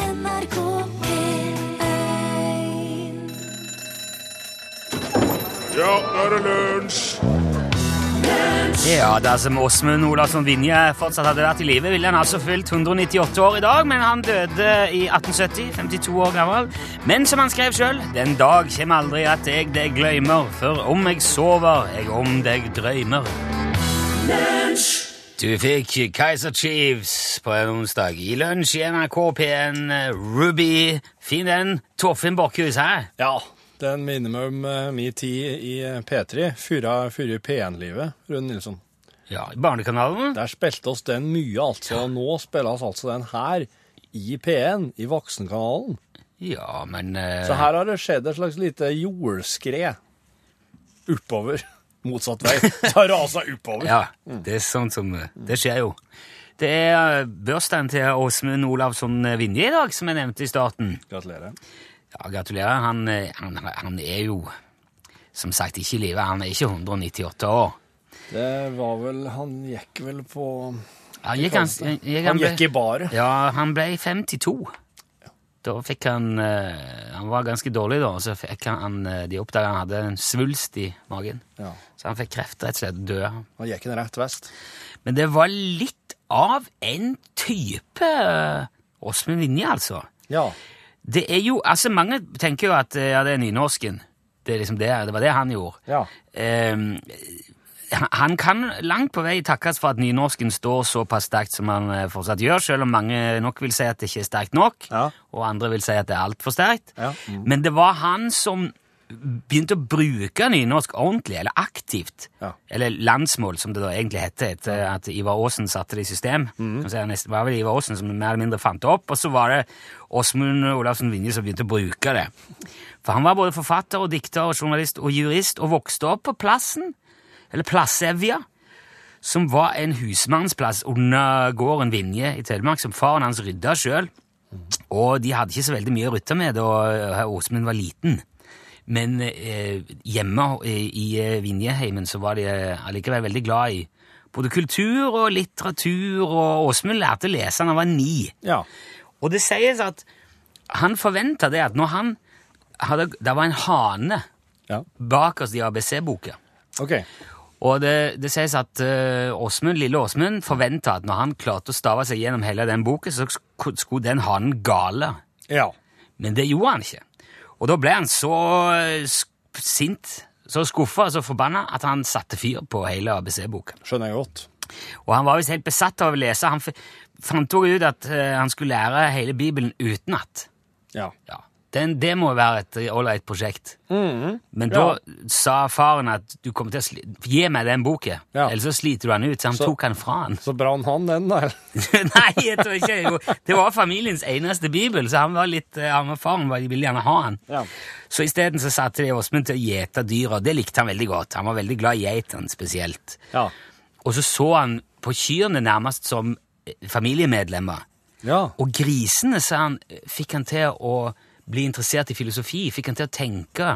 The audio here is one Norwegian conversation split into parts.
NRK P1 Ja, nå er det lunsj! Ja da, som Åsmund Olavsson Vinje fortsatt hadde vært i live, ville han altså fylt 198 år i dag, men han døde i 1870, 52 år gammel. Men som han skrev sjøl, den dag kjem aldri at jeg deg gløymer, for om jeg sover, jeg om deg drøymer. Du fikk Kaiser Chiefs på en onsdag i lunsj i NRK P1 Ruby. Fin den. Torfinn Borchhus her. Ja, den minner meg om eh, min tid i eh, P3, fyra fyra P1-livet, Rune Nilsson. Ja, Barnekanalen. Der spilte oss den mye, altså. og Nå spilles altså den her i P1, i Voksenkanalen. Ja, men eh, Så her har det skjedd et slags lite jordskred oppover. Motsatt vei. Så har det rasa oppover. Ja, det er sånn som Det skjer jo. Det er bursdagen til Åsmund Olavsson Vinje i dag, som jeg nevnte i starten. Gratulerer. Ja, Gratulerer. Han, eh, han, han er jo som sagt ikke i live. Han er ikke 198 år. Det var vel Han gikk vel på Han gikk, han, gikk, Han ble- gikk i baret. Ja, han ble 52. Da fikk han eh, Han var ganske dårlig da, og så fikk han, han eh, de oppdaga han hadde en svulst i magen. Ja. Så han fikk kreft, rett og slett. Døde. Han gikk en rett vest. Men det var litt av en type eh, Åsmund Vinje, altså. Ja. Det er jo, altså Mange tenker jo at eh, ja, det er nynorsken. Det er liksom det, det var det han gjorde. Ja. Ehm, han- han kan langt på vei takkes for at nynorsken står såpass sterkt som han eh, fortsatt gjør, selv om mange nok vil si at det ikke er sterkt nok, Ja. og andre vil si at det er altfor sterkt. Ja. Men det var han som begynte å bruke nynorsk ordentlig, eller aktivt. Ja. Eller landsmål, som det da egentlig heter, etter at Ivar Aasen satte det i system. Kan Si, det var vel Ivar Aasen som mer eller mindre fant det opp, og så var det Åsmund Olavsen Vinje som begynte å bruke det. For han var både forfatter og dikter og journalist og jurist, og vokste opp på plassen, eller Plassevja, som var en husmannsplass under gården Vinje i Telemark, som faren hans rydda sjøl. Og de hadde ikke så veldig mye å rutte med da eh, Åsmund var liten. Men eh, hjemme i, i eh, Vinjeheimen så var de eh, allikevel veldig glad i både kultur og litteratur, og Åsmund lærte å lese da han var ni. ja. Og det sies at han forventa det at når han hadde Det var en hane ja. bak oss i ABC-boka. OK. Og det, det sies at eh, Åsmund, lille Åsmund forventa at når han klarte å stave seg gjennom hele den boka, så sk- skulle den hanen gale. Ja. Men det gjorde han ikke. Og da ble han så eh, sk- sint, så skuffa og så forbanna at han satte fyr på hele ABC-boka. Skjønner jeg godt. Og han var visst helt besatt av å lese. Han f fant også ut at eh, han skulle lære hele Bibelen utenat. Ja. Ja. Den, det må være et eh, ålreit prosjekt. Mhm. Men da sa faren at du kommer til å sli gi meg den boka, Ja. ellers så sliter du han ut. Så han Så- tok han fra han. Så brann han den, da? eller? Nei, jeg tror ikke. Jo, Det var familiens eneste bibel, så han var litt, eh, han var faren var- ville gjerne ha han. Ja. Så isteden så satte de Åsmund til å gjete dyr, og det likte han veldig godt. Han var veldig glad i geitene spesielt. Ja. Og så så han på kyrne nærmest som eh, familiemedlemmer. ja. Og grisene, sa han, fikk han til å bli interessert i filosofi, fikk han til å tenke,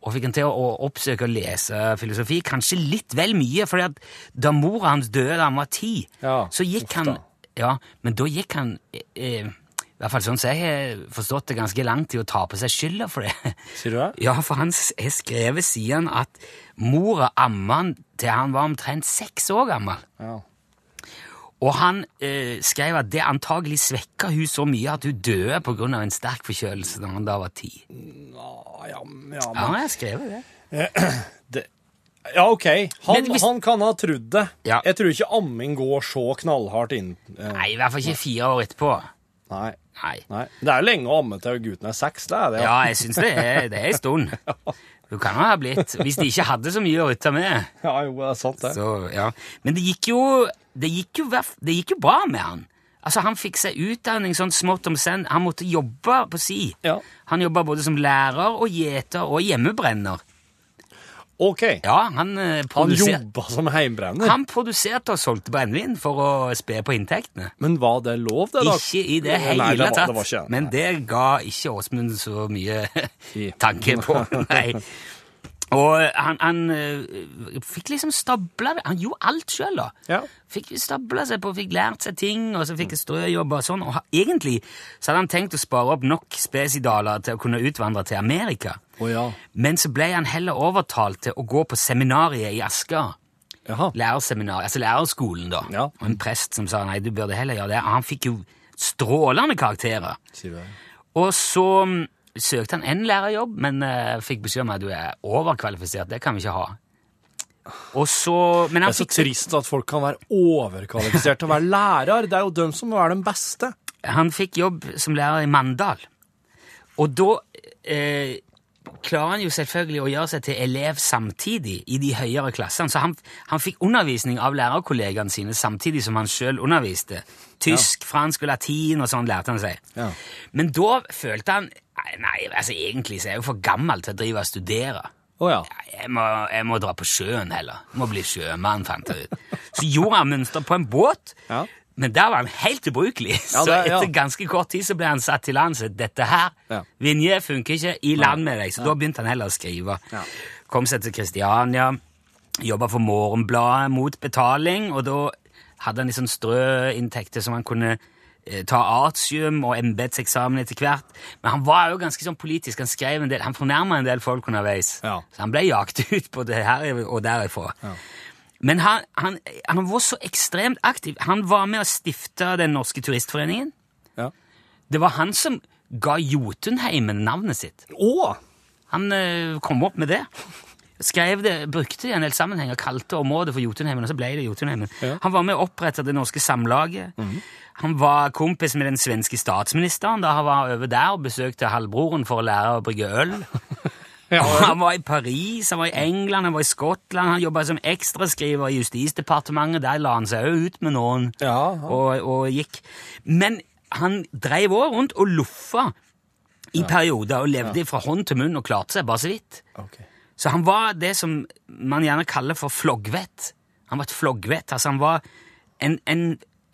og fikk han til å oppsøke og lese filosofi, kanskje litt vel mye, fordi at da mora hans døde da han var ti, Ja, så gikk uff han, da. ja, men da gikk han, eh, eh, i hvert fall sånn som jeg har forstått det ganske langt i å ta på seg skylda for det. Sier du det? Ja, for han s- har skrevet siden at mora amma han til han var omtrent seks år gammel. Ja. Og han eh, skrev at det antagelig svekka hun så mye at hun døde pga. en sterk forkjølelse da han da var ti. Ah, ja, men- ja, Ja, men, jeg skrev det. det, ja, OK. Han, Men hvis- han kan ha trodd det. Ja. Jeg tror ikke amming går så knallhardt inn. eh, Nei, i hvert fall ikke fire år etterpå. Nei. Nei. Nei. Det er jo lenge å amme til gutten er seks, det er det. Ja, jeg syns det er det er en stund. Hun kan jo ha blitt, hvis de ikke hadde så mye å rutte med. ja, jo, det er sant, det. Så, ja. Men det gikk jo det gikk jo, verf- det gikk jo bra med han. Altså, Han fikk seg utdanning sånn smått om senn. Han måtte jobbe på si. Ja. Han jobba både som lærer og gjeter og hjemmebrenner. OK. Ja, han eh, Han produser- jobba som heimbrenner. Han produserte og solgte brennevin for å spe på inntektene. Men var det lov, det, da? Ikke i det Nei, hele var- tatt, det var ikke- men det ga ikke Åsmund så mye I. tanke på. Nei. Og eh, han, han eh, fikk liksom stabla det. Han gjorde alt sjøl, da. Ja. Mm. Fikk stabla seg på, fikk lært seg ting, og så fikk jeg strøjobber og sånn. Og ha, egentlig så hadde han tenkt å spare opp nok spesidaler til å kunne utvandre til Amerika. Å ja. Men så ble han heller overtalt til å gå på seminariet i Asker. Jaha. Lærerseminar, altså lærerskolen, da. Ja. Og en prest som sa nei, du burde heller gjøre det. Han fikk jo strålende karakterer. Sier du det? Og så mm, søkte han en lærerjobb, men eh, fikk beskjed om at du er overkvalifisert. Det kan vi ikke ha. Og så, men Det han er så fikk, trist at folk kan være overkvalifisert til å være lærer. Det er jo dem som må være den beste. han fikk jobb som lærer i Mandal. Og da eh, klarer han jo selvfølgelig å gjøre seg til elev samtidig i de høyere klassene. Så han, han fikk undervisning av lærerkollegene sine samtidig som han sjøl underviste. Tysk, fransk og latin og sånn lærte han seg. Ja. Men da følte han Nei, nei altså egentlig så er jeg jo for gammel til å drive og studere. Å ja. jeg må, jeg må dra på sjøen heller. Jeg må bli sjømann, fant jeg ut. Så gjorde han mønster på en båt, Ja. men der var han helt ubrukelig. Ja, Så det- ja. etter ganske kort tid så ble han satt til lands. Dette her, Ja. Vinje, funker ikke. I land med deg. Så da begynte han heller å skrive. Ja. Kom seg til Kristiania, jobba for Morgenbladet mot betaling, og da hadde han liksom strøinntekter som han kunne eh, ta artium og embetseksamen etter hvert. Men han var jo ganske sånn politisk. Han skrev en del, han fornærma en del folk underveis. Ja. Så han ble jaktet ut på det her og derifra. Men han, han, han var så ekstremt aktiv. Han var med å stifte Den norske turistforeningen. ja. Det var han som ga Jotunheimen navnet sitt. Å! Han eh, kom opp med det. Skrev det, Brukte det i en del sammenhenger, kalte området for Jotunheimen, og så ble det Jotunheimen. Ja. Mhm. Han var med å opprette det norske samlaget. Han var kompis med den svenske statsministeren da han var over der og besøkte halvbroren for å lære å brygge øl. Ja. Han var i Paris, han var i England, han var i Skottland, han jobba som ekstraskriver i Justisdepartementet, der la han seg òg ut med noen Ja, ja. og, og gikk. Men han dreiv òg rundt og loffa i perioder og levde fra hånd til munn og klarte seg bare så vidt. Ok. Så han var det som man gjerne kaller for floggvett. Han var et floggvett. Altså, han var en, en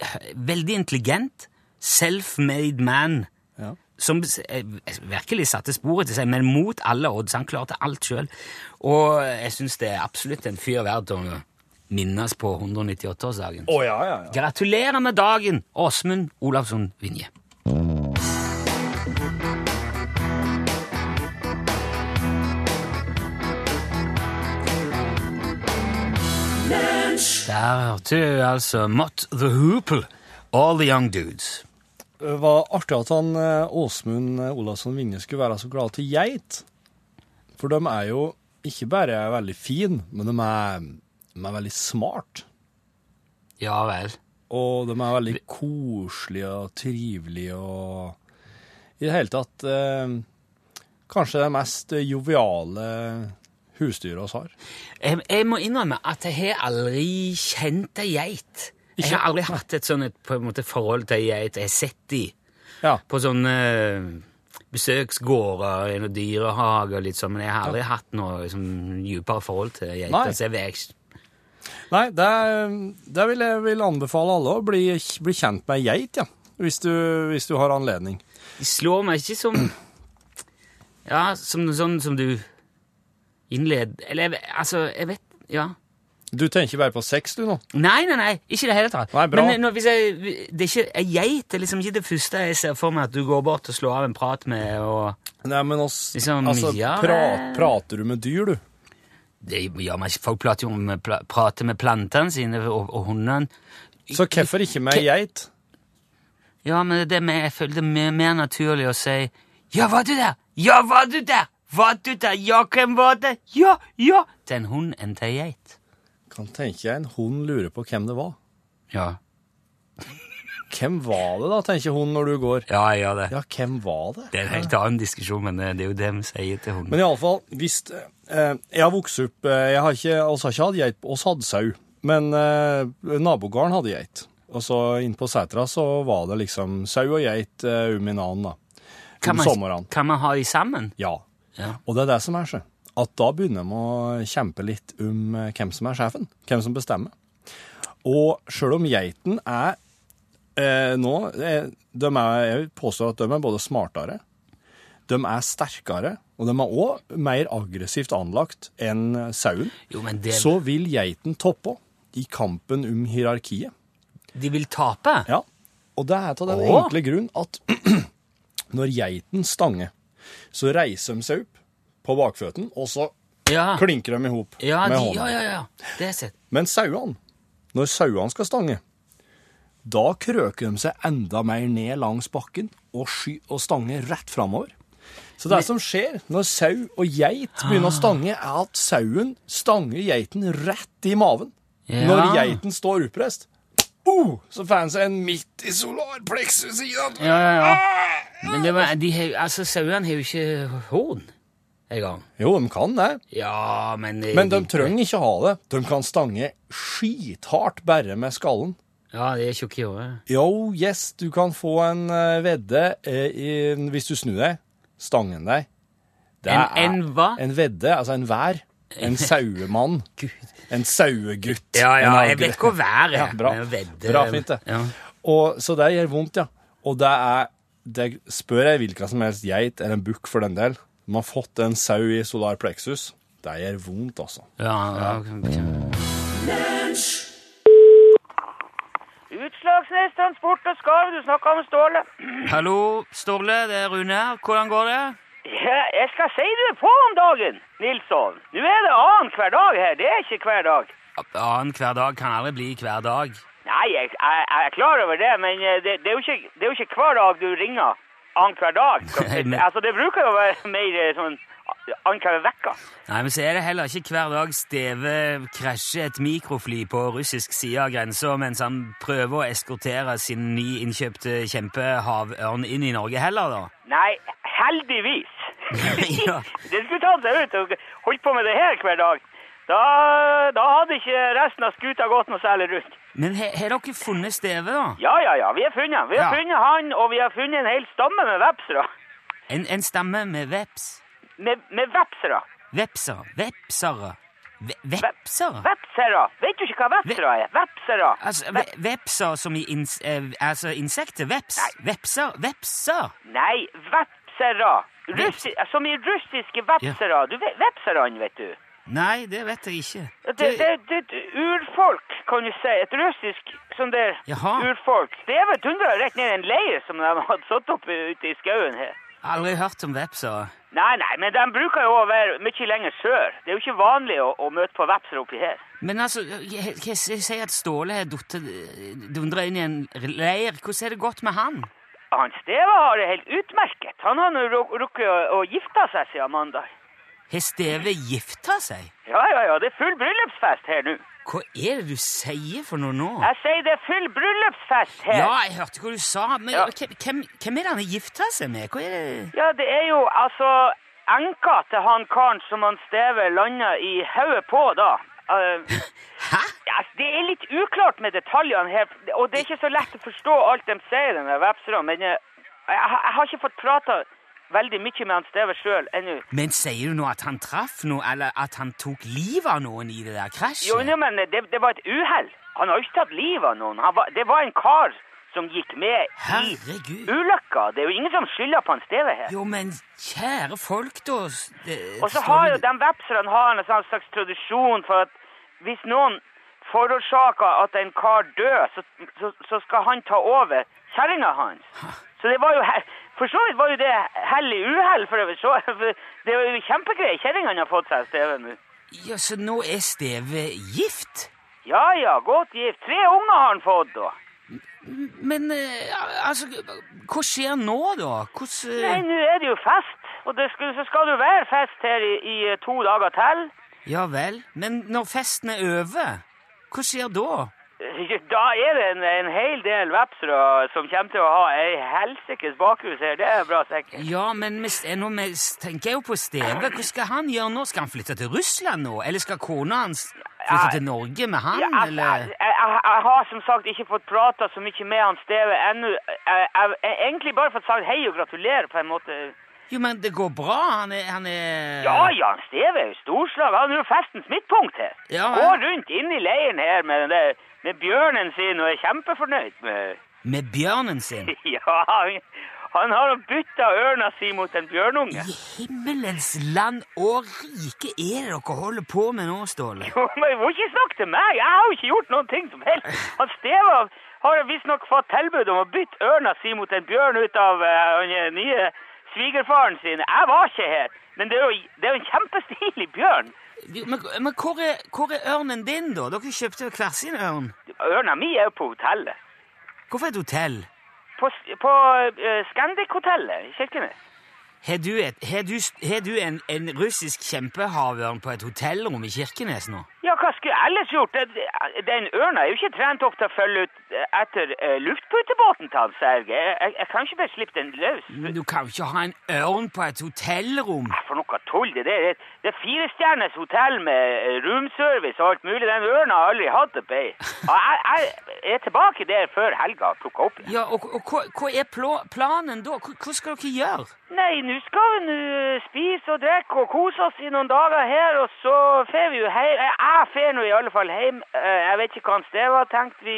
hø- veldig intelligent, self-made man Ja. som s- eh, virkelig satte sporet til seg, men mot alle odds. Han klarte alt sjøl. Og jeg syns det er absolutt en fyr verdt å minnes på 198-årsdagen. Å ja, ja, ja. Gratulerer med dagen, Åsmund Olavsson Vinje. Der hørte du altså Mott the Hoople, All the Young Dudes. Det var artig at han eh, Åsmund Olavsson Vinje skulle være så glad til geit. For de er jo ikke bare veldig fine, men de er, de er veldig smart. Ja vel. Og de er veldig koselige og trivelige og I det hele tatt eh, kanskje det mest joviale husdyret oss har. Jeg, jeg må innrømme at jeg har aldri kjent ei geit. Jeg Ikke? har aldri hatt et sånn et, på en måte, forhold til ei geit. Jeg har sett de. Ja. på sånne eh, besøksgårder og dyrehager, og litt sånn, men jeg har aldri hatt noe liksom, dypere forhold til Nei. geiter. Så jeg vet ikke Nei, det, er- det vil jeg vil anbefale alle å bli, bli kjent med ei geit, ja. Hvis du, hvis du har anledning. De slår meg ikke som Ja, som sånn som du innled... Eller jeg ve- altså, jeg vet Ja. Du tenker bare på sex, du nå? Nei, nei, nei, ikke i det hele tatt. Nei, bra. Men eh, nå, hvis jeg, det er ikke, ei geit er liksom ikke det første jeg ser for meg at du går bort og slår av en prat med. og... Nei, men oss, Liksom, altså, ja, pra- vel. prater du med dyr, du? Det gjør meg ikke. Folk prater jo om pla- prater med plantene sine og, og hundene. Så hvorfor ikke med Ke- ei geit? Ja, men det med, jeg føler det er mer, mer naturlig å si Ja, var du der? Ja, var du der? Var du der? Ja, hvem var det? Ja, ja! Til en hund enn til ei geit. Kan tenke jeg en hund lurer på hvem det var. Ja. Hvem var det da, tenker hun når du går. ja, jeg gjør det. Ja, hvem var det? Det er en helt annen diskusjon, men eh, det det er jo det vi sier til hunden. Men iallfall, hvis eh, Jeg har vokst opp eh, Jeg har ikke, altså ikke hatt geit Oss hadde sau, men eh, nabogården hadde geit. Og så inn på setra så var det liksom sau og geit eh, om i annen, da. kan, Om man, sommeren. kan man ha de sammen? Ja. Ja. Og det er det som er så. At da begynner vi å kjempe litt om eh, hvem som er sjefen. Hvem som bestemmer. Og sjøl om geiten er eh, nå eh, de er, Jeg påstår at de er både smartere De er sterkere, og de er òg mer aggressivt anlagt enn sauen. Jo, men det, Så vil geiten toppe i kampen om hierarkiet. de vil tape. Ja, og det er av den Åh. enkle grunn at når geiten stanger, så reiser de seg opp på bakføtten, og så Ja, klinker de i hop Ah. ja, med de, hånda. ja, ja, ja. Det er sett. Men sauene, når sauene skal stange, da krøker de seg enda mer ned langs bakken og, sky og stanger rett framover. Så det som skjer når sau og geit begynner å Ah. stange, er at sauen stanger geiten rett i maven. Ja. Når geiten står oppreist, oh, så får han seg en midt i solarpleksus i den. Ja, ja, ja. Men det var, de, har- altså, sauene har jo ikke horn en gang. Jo, de kan det, Ja, men eh, men de trenger ikke ha det. De kan stange skithardt bare med skallen. Ja, de er tjukke i håret. Jo, yes, du kan få en eh, vedde eh, i, hvis du snur deg. Stangen deg. Det En- er- en hva? En vedde, altså en vær. En sauemann. Gud. En sauegutt. Ja, ja, En jeg agre- vet hvor været er. Ja, bra. men jeg vedder- Bra, fint det. Ja. Og, så det gjør vondt, ja. Og det er det Spør jeg hvilken som helst geit eller en bukk for den del, som har fått en sau i solar plexus, det gjør vondt, altså. Ja, ja. Utslagsnes Transport og Skarv, du snakka med Ståle. Hallo, Ståle, det er Rune her. Hvordan går det? Ja, jeg skal si du er på om dagen, Nilsson. Nå er det annenhver dag her, det er ikke hver dag. Annen hver dag kan aldri bli hver dag. Nei, jeg, jeg, jeg er klar over det, men eh, det, det, er, jo ikke, det er jo ikke hver dag du ringer annenhver dag. Så, Nei, men- Altså, det bruker jo å være mer eh, sånn annenhver uke. Nei, men så er det heller ikke hver dag Steve krasjer et mikrofly på russisk side av grensa mens han prøver å eskortere sin nyinnkjøpte kjempehavørn inn i Norge heller, da. Nei, heldigvis. Ja. Det skulle tatt seg ut og holdt på med det her hver dag. Da, da hadde ikke resten av skuta gått noe særlig rundt. Men he- har dere funnet Steve, da? Ja, ja, ja. Vi har funnet. Vi har Ja. funnet han, og vi har funnet en hel stamme med vepsere. En, en stamme med veps? Med, med vepsere. Vepser? Vepsere? Ve- Vepsere? Vepsere. Vet du ikke hva vepsere er? Vepsere. Altså, ve- vepser som i ins, eh, altså insekter? Veps? Vepser? Vepser? Nei, vepsere. Russi, som i russiske vepsere. Du vet, vepserne, vet du. Nei, det vet jeg ikke. Det, det, det er et urfolk, kan du si. Et russisk sånn der Jaha. urfolk. Det er vel dundra rett ned i en leir som de hadde satt opp ute i skauen her. Aldri hørt om vepser. Nei, nei, men de bruker jo å være mye lenger sør. Det er jo ikke vanlig å, å møte på vepser oppi her. Men altså, jeg, jeg, jeg sier at Ståle har dundra inn i en leir. Hvordan er det gått med han? Han Steve har det helt utmerket. Han har nå ru- rukket å, å gifte seg siden mandag. Har Steve gifta seg? Ja, ja, ja, det er full bryllupsfest her nå. Hva er det du sier for noe nå? Jeg sier det er full bryllupsfest her. Ja, jeg hørte hva du sa, men Ja. hvem, hvem, hvem er det han har gifta seg med? Hva er det Ja, det er jo altså enka til han karen som han Steve landa i hodet på da. Eh, Hæ? ja, Altså, det er litt uklart med detaljene her, og det er ikke så lett å forstå alt de sier, de der vepserne, men eh, jeg, har- jeg har ikke fått prata veldig mye med han Steve sjøl ennå. Men sier du nå at han traff noe, eller at han tok livet av noen i det der krasjet? Jo, nei, men det, det var et uhell. Han har jo ikke tatt livet av noen. Han var, det var en kar som gikk med i Herregud. ulykka. Det er jo ingen som skylder på han Steve her. Jo, men kjære folk, da. s- det- Og så har jo Ståle- de vepserne har en sånn slags tradisjon for at hvis noen forårsaker at en kar dør, så, så, så skal han ta over kjerringa hans. Så det var jo he- For så vidt var jo det hell i uhell, for det, var så, for det er jo kjempegreier kjerringa han har fått seg, Steve, nå. Ja, Så nå er Steve gift? Ja ja, godt gift. Tre unger har han fått, da. Men eh, altså, hva skjer nå, da? Hvordan Nei, eh, nå er det jo fest, og det skal, så skal det jo være fest her i, i eh, to dager til. Ja vel. Men når festen er over, hva skjer da? Da er det en, en hel del vepsere som kommer til å ha ei helsikes bakhus her, det er bra sikkert. Ja, men hvis, eh, nå med, tenker jeg jo på Steve. Hva skal han gjøre nå? Skal han flytte til Russland nå? Eller skal kona hans flytte Ja, til Norge med han, Ja, jeg, jeg, eller? jeg, jeg har som sagt ikke fått prata så mye med han Steve ennå. Jeg jeg- jeg har egentlig bare fått sagt hei og gratulerer, på en måte. Jo, men det går bra. Han er, han er Ja, Jan Steve er jo storslag. Han er jo festens midtpunkt her. Ja, Gå ja. rundt inn i leiren her med, den der, med bjørnen sin og er kjempefornøyd med Med bjørnen sin. Ja, han, Han har bytta ørna si mot en bjørnunge. Himmelens land og rike er det dere holder på med nå, Ståle? Jo, Men du må ikke snakke til meg! Jeg har jo ikke gjort noen ting som helst! Han Steva har visstnok fått tilbud om å bytte ørna si mot en bjørn ut av eh, den nye svigerfaren sin. Jeg var ikke her, men det er jo, det er jo en kjempestilig bjørn. Jo, Men, men hvor, er, hvor er ørnen din, da? Dere kjøpte hver sin ørn. Ørna mi er jo på hotellet. Hvorfor et hotell? På, på eh, Scandic-hotellet i Kirkenes. Har du, et, har du, har du en, en russisk kjempehavørn på et hotellrom i Kirkenes nå? Ja, hva skulle jeg ellers gjort? Det- Den ørna er jo ikke trent opp til å følge ut etter eh, luftputebåten til han, Serge. Jeg, jeg, jeg kan ikke bare slippe den løs. Men Du kan jo ikke ha en ørn på et hotellrom! For noe tull det der. er. Det er firestjerners hotell med eh, roomservice og alt mulig. Den ørna har aldri hatt det bedre. Og Jeg, jeg er tilbake der før helga og plukker opp igjen. Ja, og, og hva, hva er plå, planen da? Hva, hva skal dere gjøre? Nei, nå skal vi nå eh, spise og drikke og kose oss i noen dager her, og så fer vi jo hjem. Eh, Jeg fer nå i alle fall hjem. Eh, Jeg vet ikke hva han Steve har tenkt. Vi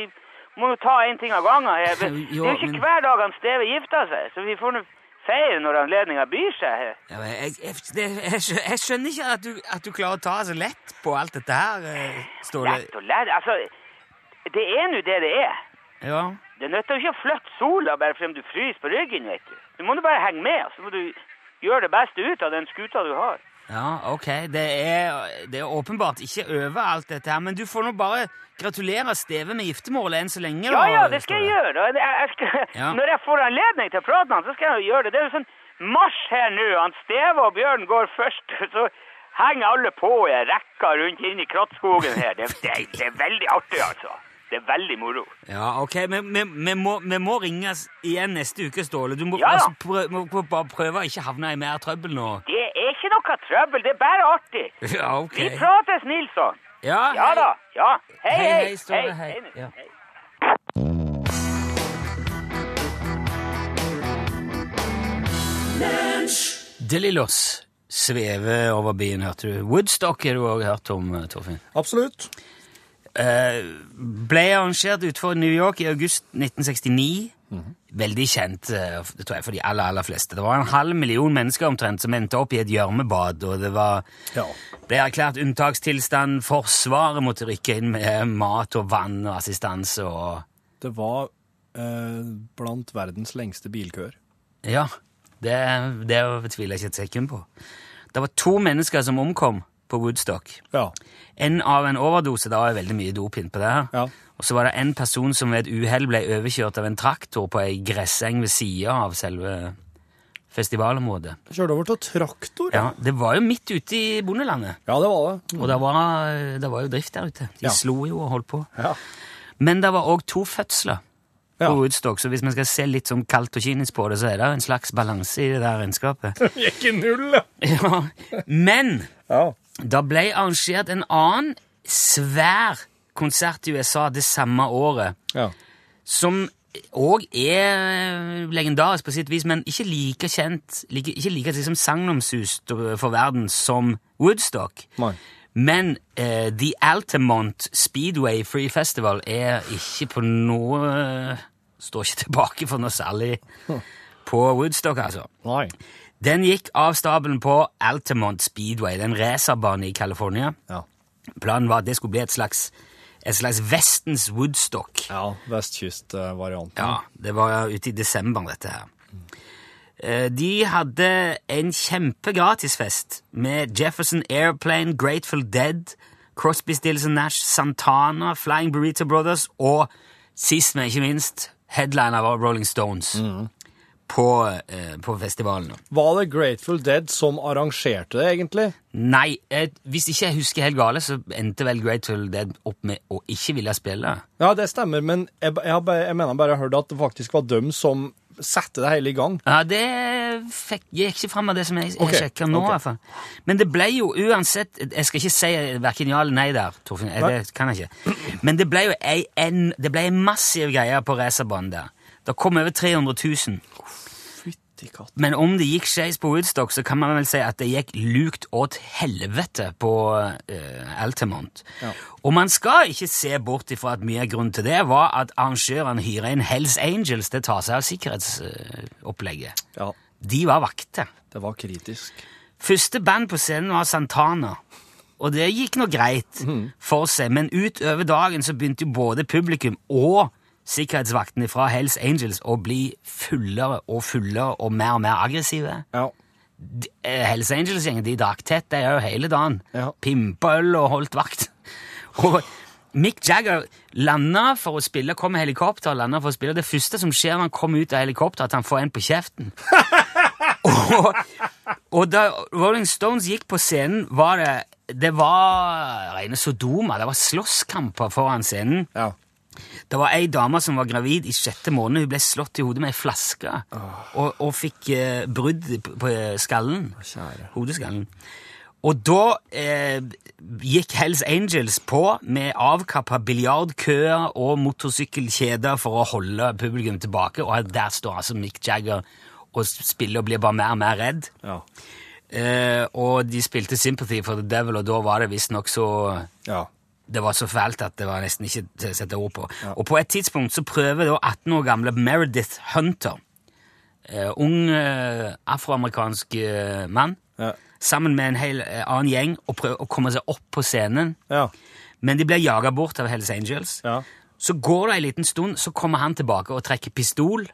må jo ta en ting av gangen her. Det det er jo Jo, men- ikke hver dag han Steve gifter seg, så vi får nå feire når anledninga byr seg her. Ja, men jeg, jeg, det, jeg, skjø- jeg skjønner ikke at du, at du klarer å ta så lett på alt dette her, eh, Ståle. Lett og lett. Altså, det er nå det det er. Ja. Det nytter jo ikke å flytte sola bare fordi om du fryser på ryggen, vet du. Du må nå bare henge med, og så må du gjøre det beste ut av den skuta du har. ja, ok. Det er, det er åpenbart ikke over alt dette her, men du får nå bare gratulere Steve med giftermålet enn så lenge. Ja, da, ja, det skal jeg Ståle. gjøre. og Jeg, jeg skal, Ja. Når jeg får anledning til å prate med han, så skal jeg jo gjøre det. Det er jo sånn marsj her nå. Han Steve og Bjørn går først, og så henger alle på i en rekke rundt inn i krattskogen her. Det, det, det er veldig artig, altså. Det er veldig moro. Ja, ok, men vi- vi må, vi må ringes igjen neste uke, Ståle. Du må, Ja, ja. altså, prø- må, må bare prøve å ikke havne i mer trøbbel nå. Det er ikke noe trøbbel, det er bare artig. Ja, Vi ok. prates, Nilsson. Ja, Ja hei. da. Ja. Hei, Hei, hei. hei, Ståle, hei. nå. Ja. hei. Delillos svever over byen, hørte du. Woodstock har du også hørt om, eh, Torfinn. Absolutt. Eh, ble arrangert utenfor New York i august 1969. Veldig kjent, eh, det tror jeg, for de aller, aller fleste. Det var en halv million mennesker omtrent som endte opp i et gjørmebad, og det var... Ja. ble erklært unntakstilstand. Forsvaret måtte rykke inn med mat og vann og assistanse og Det var eh, blant verdens lengste bilkøer. Ja, det, det tviler jeg ikke et sekund på. Det var to mennesker som omkom på Woodstock. Ja. En av en overdose, det var veldig mye dop innpå det her. Ja. Og så var det en person som ved et uhell ble overkjørt av en traktor på ei gresseng ved sida av selve festivalområdet. Kjørte over til traktor. Ja, Det var jo midt ute i bondelandet, ja, det var det. og det var, det var jo drift der ute. De Ja. slo jo og holdt på. Ja. Men det var òg to fødsler på Ja. Woodstock, så hvis man skal se litt sånn kaldt og kynisk på det, så er det en slags balanse i det der regnskapet. Gikk i null, ja. ja. Men Ja. da ble arrangert en annen svær konsert i USA det samme året, ja. som òg er eh, legendarisk på sitt vis, men ikke like kjent, like, ikke like liksom sagnomsust for verden som Woodstock. Nei. Men eh, The Altamont Speedway Free Festival er ikke på noe eh, Står ikke tilbake for noe særlig på Woodstock, altså. Nei. Den gikk av stabelen på Altamont Speedway, den racerbane i California. Ja. Planen var at det skulle bli et slags, et slags Vestens Woodstock. ja. Vestkystvarianten. Ja, det var ute i desember, dette her. Eh, De hadde en kjempegratisfest med Jefferson Airplane, Grateful Dead, Crosby, Stills and Nash, Santana, Flying Burrito Brothers og sist, men ikke minst, headliner var Rolling Stones på, eh, på festivalen. Var det Grateful Dead som arrangerte det, egentlig? Nei, eh, hvis ikke jeg husker helt gale, så endte vel Grateful Dead opp med å ikke ville spille. Ja, det stemmer, men jeg, ba- jeg, har bare- jeg mener bare jeg hørte at det faktisk var dem som satte det hele i gang. Ja, det fikk, gikk ikke fram av det som jeg, jeg Ok, sjekker nå, ok. i hvert fall. Men det ble jo uansett Jeg skal ikke si hverken ja eller nei der, Torfinn. Jeg, Nei. det kan jeg ikke. Men det ble jo ei, en, det ble ei massiv greie på racerbanen der. Det kom over 300 000. Fytti katt. Men om det gikk skeis på Woodstock, så kan man vel si at det gikk lukt åt helvete på eh, Altamont. Og man skal ikke se bort ifra at mye av grunnen til det var at arrangørene hyrer inn Hells Angels til å ta seg av sikkerhetsopplegget. Ja, De var vakter. det var kritisk. Første band på scenen var Santana, og det gikk nå greit for seg, men utover dagen så begynte jo både publikum og sikkerhetsvaktene fra Hells Angels å bli fullere og fullere og mer og mer aggressive. Ja. De- eh, Hells Angels-gjengen de drakk tett de jo hele dagen. Ja. Pimpa øl og holdt vakt. Og Mick Jagger landa for å spille, kom med helikopter og landa for å spille. Det første som skjer når han kommer ut av helikopteret, er at han får en på kjeften. og, og da Rolling Stones gikk på scenen, var det det var rene Sodoma. Det var slåsskamper foran scenen. Ja. Det var ei dame som var gravid i sjette måned. Hun ble slått i hodet med ei flaske og, og fikk eh, brudd på, på eh, skallen. kjære. Hodeskallen. Og da eh, gikk Hells Angels på med avkappa biljardkøer og motorsykkelkjeder for å holde publikum tilbake, og der står altså Mick Jagger og spiller og blir bare mer og mer redd. Ja. Eh, og de spilte Sympathy for the Devil, og da var det visstnok så Ja. det var så fælt at det var nesten ikke til å sette ord på. Og på et tidspunkt så prøver da 18 år gamle Meredith Hunter, eh, ung eh, afroamerikansk eh, mann, Ja. sammen med en hel eh, annen gjeng, å prøve å komme seg opp på scenen. Ja. Men de blir jaga bort av Hells Angels. Ja. Så går det en liten stund, så kommer han tilbake og trekker pistol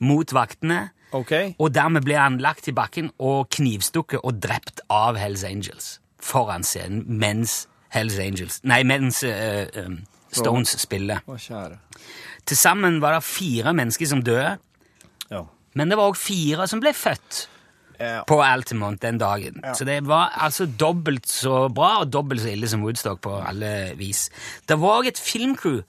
mot vaktene. OK. Og dermed ble han lagt i bakken og knivstukket og drept av Hells Angels foran scenen mens Hells Angels Nei, mens eh, eh, Stones spiller. Å, kjære. Til sammen var det fire mennesker som døde, Ja. men det var òg fire som ble født Ja. på Altamont den dagen. Så det var altså dobbelt så bra og dobbelt så ille som Woodstock på alle vis. Det var òg et filmcrew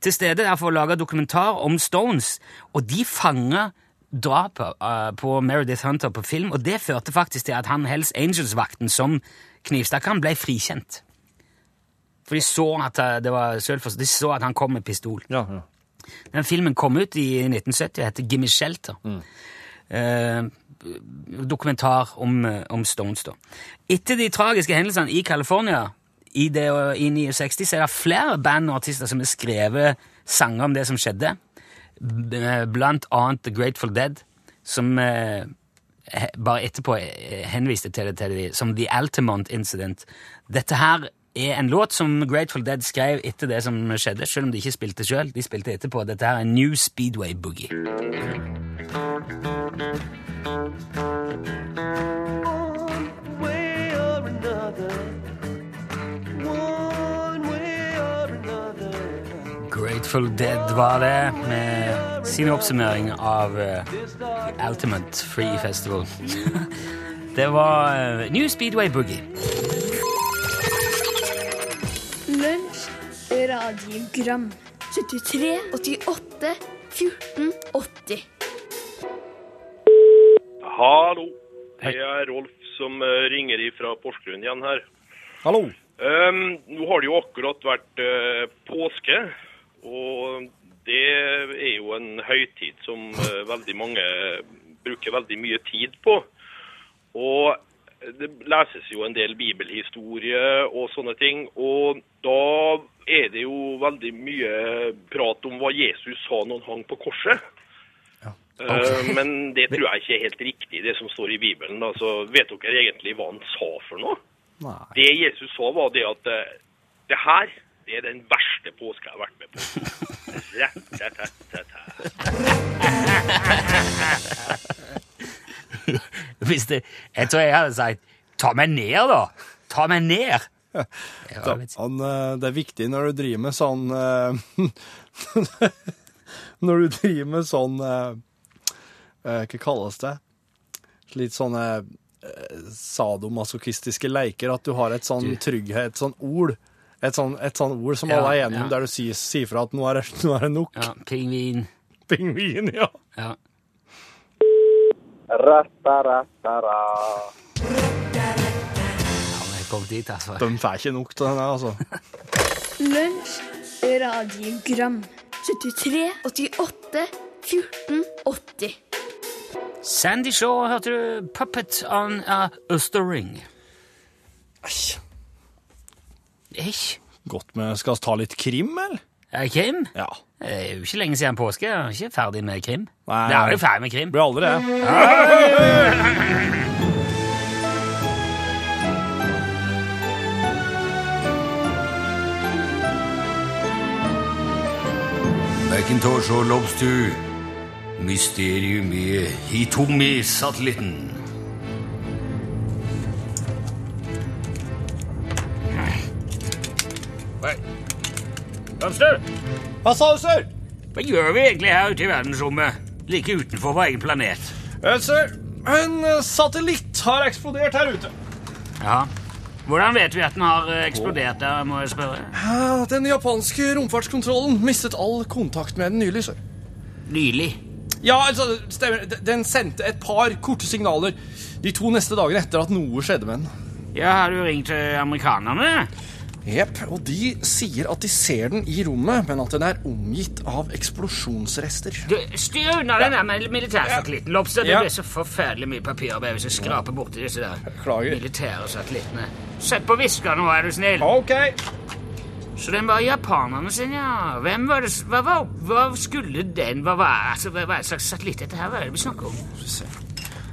til stede der for å lage dokumentar om Stones, og de fanga drapet eh, på Meredith Hunter på film, og det førte faktisk til at han Hells Angels-vakten som knivstakk han, ble frikjent. For de så at eh, det var selvforsvar. De så at han kom med pistol. Ja, ja. Den filmen kom ut i 1970 og heter Gimme Shelter. Eh, dokumentar om, eh, om Stones, da. Etter de tragiske hendelsene i California i, det, i 69, så er det flere band og artister som har skrevet sanger om det som skjedde. B- eh, Blant annet The Grateful Dead, som eh, he- bare etterpå eh, henviste til det til de, som The Altamont Incident. Dette her er en låt som Grateful Dead skrev etter det som skjedde, selv om de ikke spilte sjøl. De spilte etterpå. Dette her er New Speedway Boogie. One way or another. One way or another. Grateful Dead var det, med sin oppsummering av eh, Ultimate Free Festival. det var eh, New Speedway Boogie. Lunsj, radiogram 73, 88, 14, 80 Hallo. Det er Rolf som eh, ringer ifra Porsgrunn igjen her. Hallo. Ehm, nå har det jo akkurat vært eh, påske, og det er jo en høytid som eh, veldig mange bruker veldig mye tid på. Og det leses jo en del bibelhistorie og sånne ting, og da er det jo veldig mye prat om hva Jesus sa når han hang på korset. Eh, Men det tror jeg ikke er helt riktig, det som står i Bibelen. da. Så vet dere egentlig hva han sa for noe? Nei. Det Jesus så, var det at eh, det her det er den verste påska jeg har vært med på. Rett, rett, rett, rett, rett. Hvis det, jeg tror jeg hadde sagt 'ta meg ned', da. Ta meg ned. Det var litt- Han, eh, det er viktig når du driver med sånn eh, Når du driver med sånn eh, eh, Hva kalles det? Litt sånne eh, sadomasochistiske leker, at du har et sånn trygghet, et sånn ord. Et sånn, et sånn ord som Ja, alle er gjennom, ja. der du sier, sier fra at nå er det, nå er det nok. Ja, pingvin. Pingvin, ja. Ja. Ja, men jeg kom dit, altså. De får ikke nok til den her, altså. Lunsj, radiogram 73, 88, 14, 80 Sandy Shaw hørte du Puppet on a Østering. Æsj. Æsj. Godt med Skal vi ta litt krim, eller? Er det Krim? Ja. Eh, Det er jo ikke lenge siden påske. Jeg er ikke ferdig med krim. Nei. Det er jo ferdig med krim. Blir aldri det. Macintosh og Lobster. Mysterium i Hitomi-satellitten. Lobster, Hva sa du, sir? hva gjør vi egentlig her ute i verdensrommet? Like utenfor vår egen planet. Eh, sir, en eh, satellitt har eksplodert her ute. Ja. Hvordan vet vi at den har eh, eksplodert der, må jeg spørre? Eh, Den japanske romfartskontrollen mistet all kontakt med den nylig, sir. Nylig. Ja, altså, det stemmer. D- Den sendte et par korte signaler de to neste dagene etter at noe skjedde med den. Ja, har du ringt eh, amerikanerne? Jepp, og de sier at de ser den i rommet, men at den er omgitt av eksplosjonsrester. Du, styr unna den der mil- militærsatellitten, Lobster. Det Ja. blir så forferdelig mye papirarbeid hvis jeg skraper borti disse der Beklager. militære satellittene. Sett på visker nå, er du snill. Ok. Så den var japanerne sin, ja. Hvem var det s- Hva, var, hva skulle den Hva var altså, hva, hva er det slags satellitt dette her? Hva er det vi snakker om?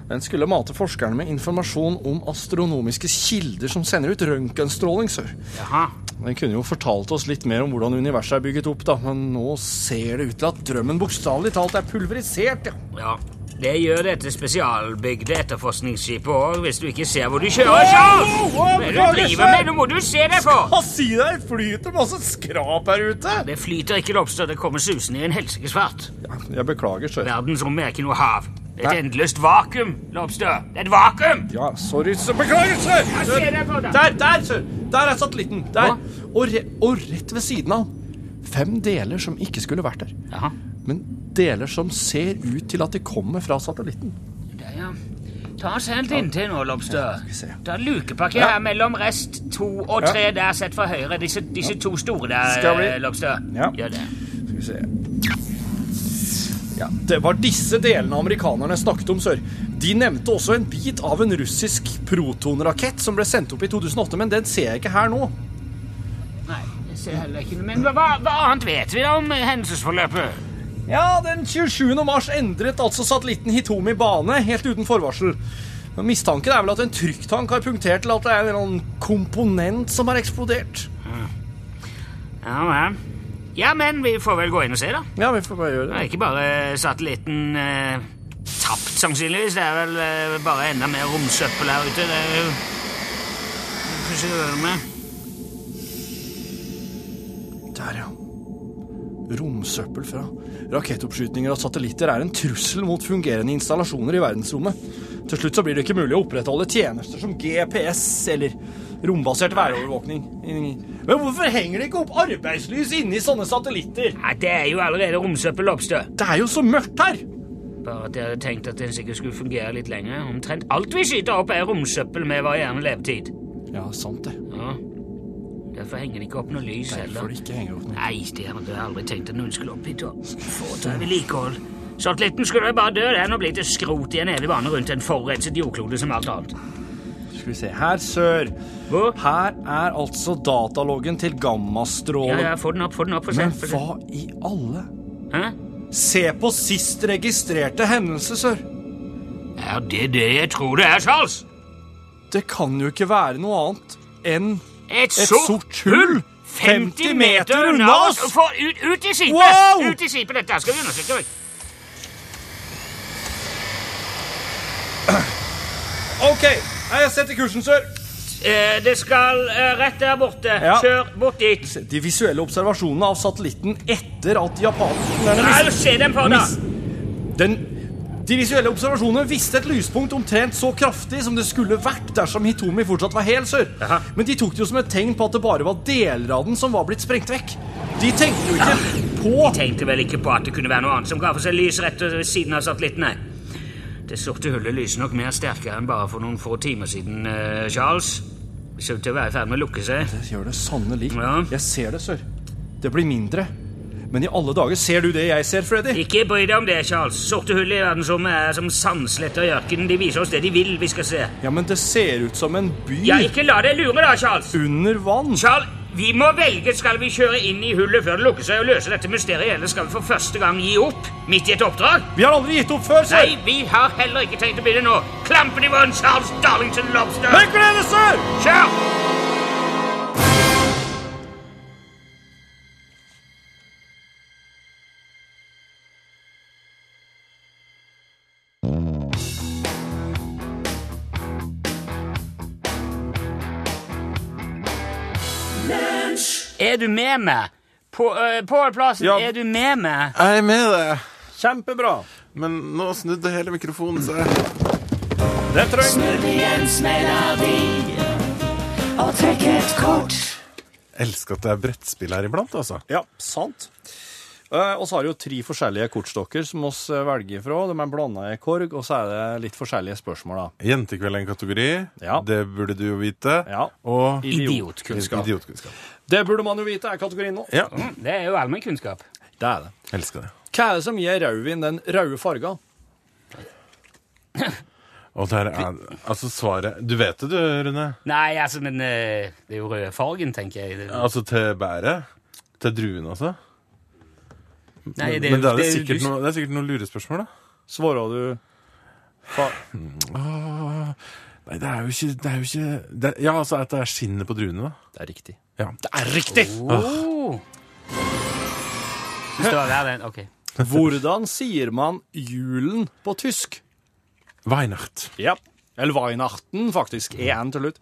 Den skulle mate forskerne med informasjon om astronomiske kilder som sender ut røntgenstråling, sør. Jaha. Den kunne jo fortalt oss litt mer om hvordan universet er bygget opp, da, men nå ser det ut til at drømmen bokstavelig talt er pulverisert, ja. Ja. Det gjør dette spesialbygde etterforskningsskipet òg, hvis du ikke ser hvor du kjører. Charles! Hva wow, er det beklager, du driver med? sir. Nå må du se deg for! Hva sier det? Det flyter masse skrap her ute. Det flyter ikke lobster, det kommer susende i en helsikes fart. Jeg beklager, sir. Verdensrommet er ikke noe hav. Det er Nei. et endeløst vakuum, Lobster. Det er et vakuum! Ja, sorry, sir. Beklager, sir. Hva Sir. skjer der på da? Der, der, sir. Der er satellitten. Der. Hva? Og, re og rett ved siden av. Fem deler som ikke skulle vært der. Jaha. Men deler som ser ut til at de kommer fra satellitten. Der, ja. Ta oss helt inntil nå, Lobster. vi se. Det er lukepakke Ja. her mellom rest to og tre der, sett fra høyre. Disse, disse to store der, Skal vi- eh, Lobster. Ja. Gjør det. Skal vi se ja, Det var disse delene amerikanerne snakket om, sør. De nevnte også en bit av en russisk protonrakett som ble sendt opp i 2008, men den ser jeg ikke her nå. Nei, jeg ser heller ikke noe. Men hva, hva annet vet vi da om eh, hendelsesforløpet? Ja, den 27. mars endret altså satellitten Hitomi bane helt uten forvarsel. Men mistanken er vel at en trykktank har punktert til at det er en eller annen komponent som har eksplodert. Ja, men. ja, men vi får vel gå inn og se, da. Ja, vi får bare gjøre Det det. er ikke bare satellitten eh, tapt, sannsynligvis. Det er vel eh, bare enda mer romsøppel her ute. Det er jo Hva skal vi gjøre med? Der, ja. Romsøppel fra rakettoppskytninger og satellitter er en trussel mot fungerende installasjoner i verdensrommet. Til slutt så blir det ikke mulig å opprettholde tjenester som GPS eller rombasert værovervåkning. Men hvorfor henger det ikke opp arbeidslys inni sånne satellitter? Nei, det er jo allerede romsøppel oppstå. Det er jo så mørkt her! Bare at jeg hadde tenkt at den sikkert skulle fungere litt lenger. Omtrent alt vi skyter opp, er romsøppel med varierende levetid. Ja, sant det. Ja. Derfor henger det ikke opp noe lys Derfor heller. det ikke henger opp noe. Nei, det hadde jeg aldri tenkt at noen skulle opp hit og foreta vedlikehold. Satellitten skulle jo bare dø den og bli til skrot i en evig bane rundt en forurenset jordklode som alt annet. Skal vi se her, sør. Hva? Her er altså dataloggen til Ja, gammastrålen. ja, få den opp, få den opp. Få se, Men få se. hva i alle Hæ? Se på sist registrerte hendelse, sør. Er det det jeg tror det er, Charles? Det kan jo ikke være noe annet enn Et, et sort hull 50 meter unna oss! Få ut, ut i skipet! Wow! Ut i skipet, dette skal vi undersøke. oi. OK, jeg setter kursen, sør. Eh, det skal eh, rett der borte. Ja. Kjør bort dit. De visuelle observasjonene av satellitten etter at japanerne Nei, mis- se dem på, da! mis- Den, de visuelle observasjonene viste et lyspunkt omtrent så kraftig som det skulle vært dersom Hitomi fortsatt var hel sør. Jaha. Men de tok det jo som et tegn på at det bare var deler av den som var blitt sprengt vekk. De tenkte jo ikke på Tenkte vel ikke på at det kunne være noe annet som ga for seg lys rett ved siden av satellitten. Nei. Det sorte hullet lyser nok mer sterkere enn bare for noen få timer siden, eh, Charles. Ser ut til å være i ferd med å lukke seg. Det gjør det sannelig. Ja. Jeg ser det, sør. Det blir mindre. Men i alle dager, ser du det jeg ser, Freddy? Ikke bry deg om det, Charles. Sorte hull i verdensrommet er som sandsletter i ørkenen. De viser oss det de vil vi skal se. Ja, men det ser ut som en by Ja, ikke la deg lure, da, Charles. under vann. Charles, vi må velge. Skal vi kjøre inn i hullet før det lukker seg og løse dette mysteriet, eller skal vi for første gang gi opp midt i et oppdrag? Vi har aldri gitt opp før, sir! Nei, vi har heller ikke tenkt å bli det nå. Klampen i vann, Charles Darlington Lobster. Hør på dere, sir! Kjør! Er du med meg? På, øh, Pål Plassen, Ja. er du med meg? Jeg er med deg, Kjempebra. men nå snudde hele mikrofonen seg. Det trenger Jeg elsker at det er brettspill her iblant, altså. Ja, sant. Eh, Og så har vi jo tre forskjellige kortstokker som oss eh, velger ifra. De er blanda i korg, og så er det litt forskjellige spørsmål, da. Jentekveld er en kategori. Ja. Det burde du jo vite. Ja. Og Idiotkunnskap. idiotkunnskap. Det burde man jo vite er kategorien nå. Ja. Det er jo allmennkunnskap. Det er det. Elsker det. Hva er det som gir rødvin den røde farga? Og der er Altså, svaret Du vet det, du, Rune. Nei, altså, men øh, det er jo røde fargen, tenker jeg. Det- Altså til bæret. Til druen, altså. Nei, Men det er, det, jo sikkert du- noe, det er sikkert noen lurespørsmål, da. Svarer du fa Nei, det er jo ikke, det er jo ikke det, Ja, altså at det er skinnet på druene, da. Det er riktig. Ja. Det er riktig! Oh. Synes det var verre den. Ok. Hvordan sier man julen på tysk? Weihnacht. Ja. Mm. Eller Weihnachten, faktisk. EN til slutt.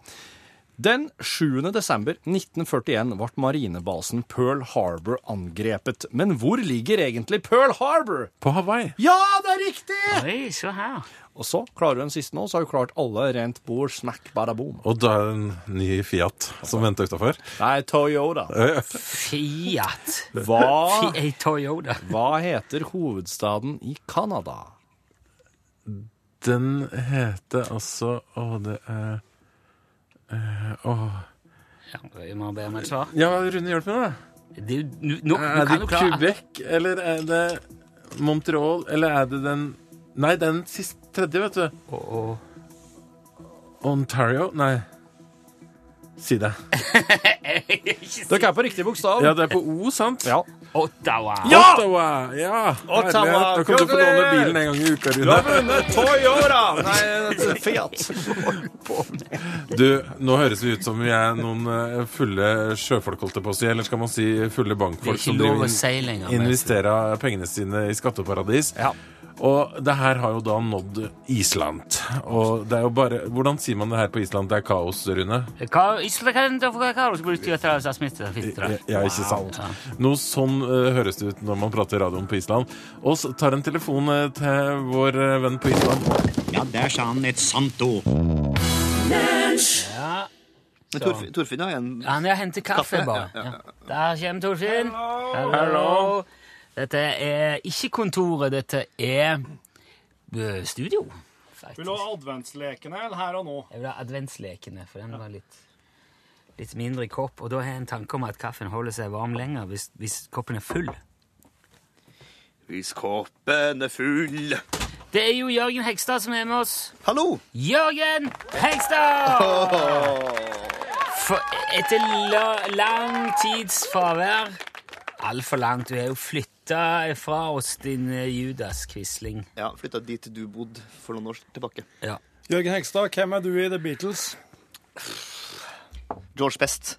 Den 7. desember 1941 ble marinebasen Pearl Harbor angrepet. Men hvor ligger egentlig Pearl Harbor? På Hawaii. Ja, det er riktig! Oi, se her. Og så klarer du den siste nå, så har du klart alle rent bord, smack, bada boom. Og da er det en ny Fiat som venter utafor. Nei, Toyota. Fiat. Hva, Fi- ei Toyota. hva heter hovedstaden i Canada? Den heter altså Å, det er eh, Åh Ja, vi må be om et svar. Ja, Rune, hjelp meg, da. Det er jo, nå, nå, nå Er kan det du klare Quebec, eller er det Montreal, eller er det den Nei, den sist tredje, vet du. Å, å. Ontario? Nei. Si det. Dere er på riktig bokstav. Ja, det er på O, sant? Ja. Ottawa. Ottawa! Ja! Herlighet, Ottawa, Nå kan du få låne gratulerer! bilen en gang i uka, Rune. Toyota! Nei, Fiat. Du, nå høres vi ut som vi er noen eh, fulle sjøfolk, holdt jeg på å si. Eller skal man si fulle Det er bankfolk ikke som lov driver å si lenger, men- investerer pengene sine i skatteparadis. Ja. Og det her har jo da nådd Island. Og det er jo bare Hvordan sier man det her på Island? Det er kaos, Rune? Hva, Isla, kan du få hva du bruker til å ta smitte? Ja, ikke sant? Noe sånn eh, høres det ut når man prater i radioen på Island. Og så tar en telefon eh, til vår eh, venn på Island. Ja, der sa han et sant ord. Men Torfinn Torfinn har en Han er og henter kaffe, Kaffe, bare. ja, ja, Ja. Der kommer Torfinn. Hallo. Dette er ikke kontoret, dette er ø, studio. Faktisk. adventslekene her og nå? Jeg vil ha adventslekene, for den var litt, litt mindre i kopp. Og da har jeg en tanke om at kaffen holder seg varm lenger hvis, hvis koppen er full. Hvis koppen er full Det er jo Jørgen Hegstad som er med oss. Hallo! Jørgen Hegstad! For etter la, lang tids fravær Altfor langt. Du er jo flytta fra oss, din eh, Judas Quisling. Ja, flytta dit du bodde for noen år tilbake. Ja. Jørgen Hegstad, hvem er du i The Beatles? George Best.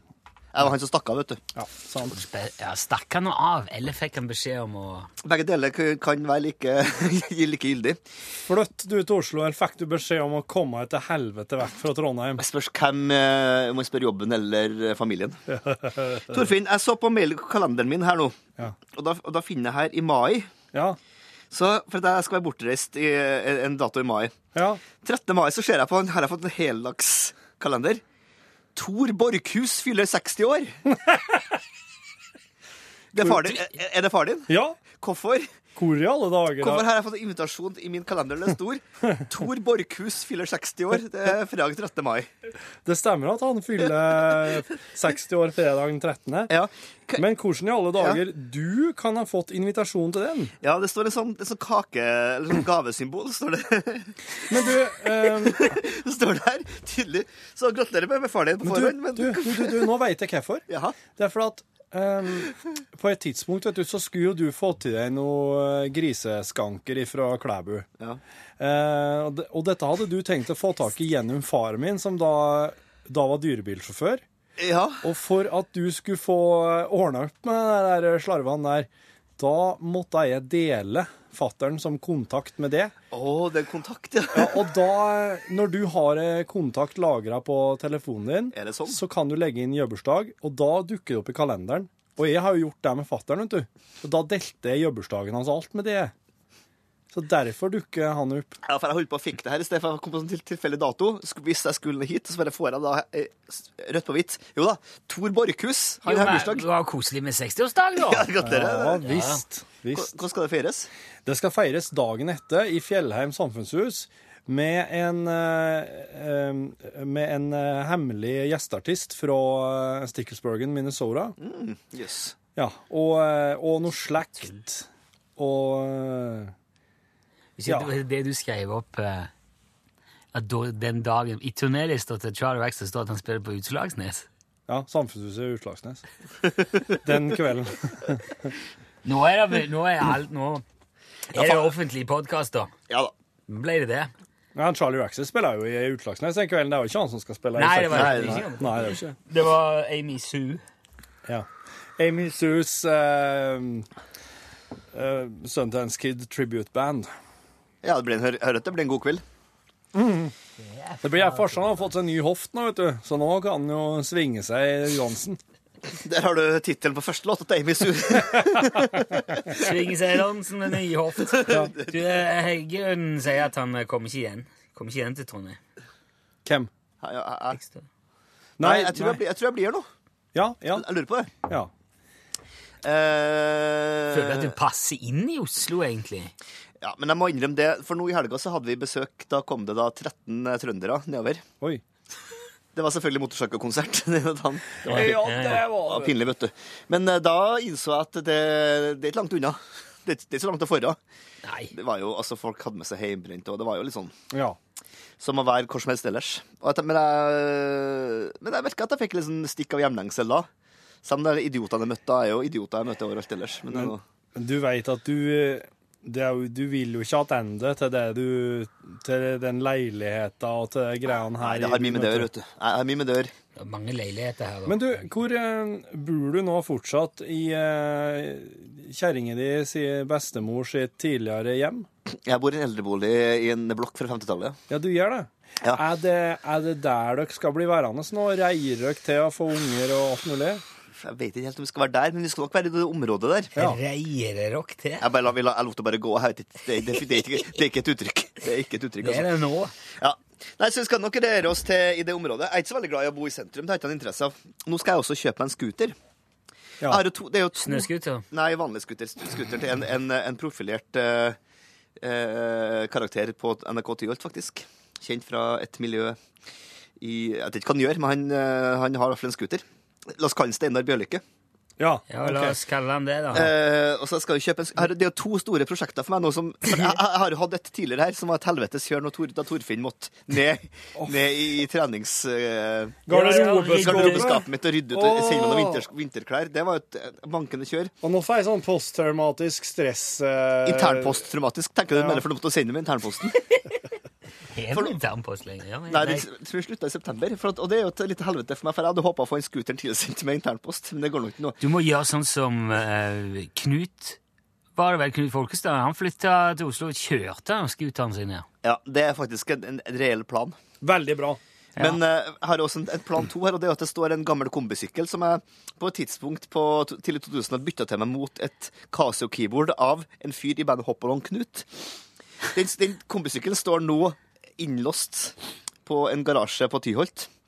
Jeg var han som stakk av, vet du. Ja, sant. Spe- ja Stakk han nå av, eller fikk han beskjed om å Begge deler k- kan være like, like gyldig. Flytt du til Oslo, eller fikk du beskjed om å komme deg til helvete vekk fra Trondheim? Jeg spørs hvem eh, om jeg spør jobben eller eh, familien. Torfinn, jeg så på mailkalenderen min her nå, Ja. og da, og da finner jeg her i mai Ja. så For at jeg skal være bortreist i eh, en dato i mai. Ja. 13. mai så ser jeg på en, her har jeg fått en heldagskalender. Tor Borchhus fyller 60 år. Det er far din. Er- Er det far din? Ja. Hvorfor? Hvor i alle dager? Hvorfor har jeg fått invitasjon i min kalender? Det står Tor Borchhus fyller 60 år. Det er fredag 13. mai. Det stemmer at han fyller 60 år fredag den 13. Men hvordan i alle dager du kan ha fått invitasjon til den? Ja, det står en sånn, en sånn kake Eller sånn gavesymbol, står det. Men du ehm, Det står det her, tydelig. Så gratulerer med, med far din på Men du, forhånd. Men du, du, du, du, nå veit jeg hvorfor. Det er fordi at ehm, på et tidspunkt vet du, så skulle jo du få til deg noen griseskanker fra Klæbu. Eh, og, det, og dette hadde du tenkt å få tak i gjennom faren min, som da, da var dyrebilsjåfør. Og for at du skulle få ordna opp med de der slarvene der, da måtte jeg dele fattern som kontakt med det. Å, det er kontakt, ja. Og da, når du har eh, kontakt lagra på telefonen din, så kan du legge inn jobbursdag, og da dukker det opp i kalenderen. Og jeg har jo gjort det med fattern, vet du. Og da delte jeg jobbursdagen hans alt med det. Så derfor dukker han opp. Ja, for jeg holdt på å fikk det her i stedet for jeg kom på en sånn til- tilfeldig dato. Sk- Hvis jeg skulle hit, så bare får jeg da eh, s- rødt på hvitt. Jo da, Tor Borchhus. Han Jo, har men bursdag. Det var koselig med 60-årsdag, da. Ja, gratulerer. Ja, visst. visst. Hvordan skal det feires? Det skal feires dagen etter i Fjellheim samfunnshus med en, eh, eh, med en eh, hemmelig gjesteartist fra eh, Sticklesburgen, Minnesota. Mm, yes. Ja, og, eh, og noe slekt. Og eh, Hvis Ja. ikke det- Det du skrev opp eh, at da, den dagen I turnélista til Charlie Waxter står at han spiller på Utslagsnes. Ja, Samfunnshuset i Utslagsnes. Den kvelden. Nå er det, nå er alt, nå er det offentlig podkast, da. Ja da. Ble det det? Ja, Charlie Raxes spiller jo i Utslagsnes den kvelden. Det er jo ikke han som skal spille. i Nei, det var Utslagsnes. det ikke. Nei, nei, det er jo ikke. Det var Amy Sue. Ja. Amy Sues eh, uh, Sundance Kid Tribute Band. Ja, det blir en, hør, hør at det blir en god kveld. Det blir jeg Farsan har fått seg ny hoft nå, vet du. Så nå kan han jo svinge seg i dansen. Der har du tittelen på første låta til Amy Sur. Svinge seg i dansen med ny hoft. Du, eh, Heggeøen sier at han eh, kommer ikke igjen. Kommer ikke igjen til Trondheim. Hvem? Nei, jeg tror jeg, blir- jeg tror jeg blir her nå. Ja, ja. Jeg lurer på det. Ja. Eh, Føler at du passer inn i Oslo, egentlig. Ja, men jeg må innrømme det, for nå i helga så hadde vi besøk. Da kom det da 13 trøndere nedover. Oi. Det var selvfølgelig motorsykkelkonsert. Det var da han- Ja, det var var pinlig, vet du. Men eh, da innså jeg at det, det er ikke langt unna. Det, er ikke- det er ikke så langt til forra. Eh, Det var jo, altså Folk hadde med seg hjemmebrent, og det var jo litt sånn Ja. som å være hvor som helst ellers. Og at, men jeg, men jeg merka at jeg fikk litt sånn stikk av hjemlengsel da. Selv om de idiotene jeg møtte, da, er jo idioter jeg møter overalt ellers. Men, det er Men noe- du veit at du eh, det er jo, Du vil jo ikke tilbake til det du Til den leiligheta og til de greiene her. Nei, det har i mye med byen, det å gjøre, vet du. Jeg har mye med det å gjøre. Det er mange leiligheter her. da. Men du, hvor eh, bor du nå fortsatt i eh, kjerringa di sin bestemor sitt tidligere hjem? Jeg bor i en eldrebolig i en blokk fra 50-tallet. Ja, du gjør det? Er, det er det der dere skal bli værende nå? Reier dere til å få unger og alt mulig? Jeg vet ikke helt om vi skal være der, men vi skal nok være i det området der. Reier dere dere til? Jeg, bare, la- vi la, jeg lot det bare gå. Jeg vet ikke- Det, det, det, er ikke, det er ikke et uttrykk. Det er ikke et uttrykk, altså. Det er det nå. Ja. Nei, så vi skal nok røre oss til i det området. Jeg er ikke så veldig glad i å bo i sentrum. Det har jeg ikke noen interesse av. Nå skal jeg også kjøpe meg en scooter. Ja. Jeg har jo to, det er jo to, Snøscooter? Nei, vanlig scooter. Scooter til en, en, en profilert eh, eh, karakter på NRK Tyholt, faktisk. Kjent fra et miljø i Jeg vet ikke hva han gjør, men han, eh, han har i hvert fall en scooter. La oss kalle han Steinar Bjørlykke. Ja, Ja, La oss kalle han det, da. Eh, og så skal jeg kjøpe en, sk- her, Det er jo to store prosjekter for meg nå som for jeg, jeg har jo hatt et tidligere her som var et helvetes kjør når Tor, da Torfinn måtte ned, ned i, i trenings... eh, Garderobeskapet. garderobeskapet mitt og rydde ut og Åh. sende noen vinters, vinterklær. Det var jo et eh, bankende kjør. Og nå får jeg sånn posttraumatisk stress... Eh, Internposttraumatisk. Tenker du Ja. mener for du måtte sende med internposten? Er det internpost lenger? Ja, Nei, det jeg tror jeg slutta i september. For at, og det er jo et lite helvete for meg, for jeg hadde håpa å få en scooter tilsendt med internpost, men det går nok ikke nå. Du må gjøre sånn som eh, Knut Var det vel Knut Folkestad? Han flytta til Oslo og kjørte scooteren sin ned. Ja, det er faktisk en, en reell plan. Veldig bra. Men eh, jeg har også en, en plan to her, og det er at det står en gammel kombisykkel som jeg på et tidspunkt på to- tidlig 2000 hadde bytta til meg mot et Casio-keyboard av en fyr i bandet Hopalong Knut. Den, den kombisykkelen står nå innlåst på en garasje på Tyholt. Eh,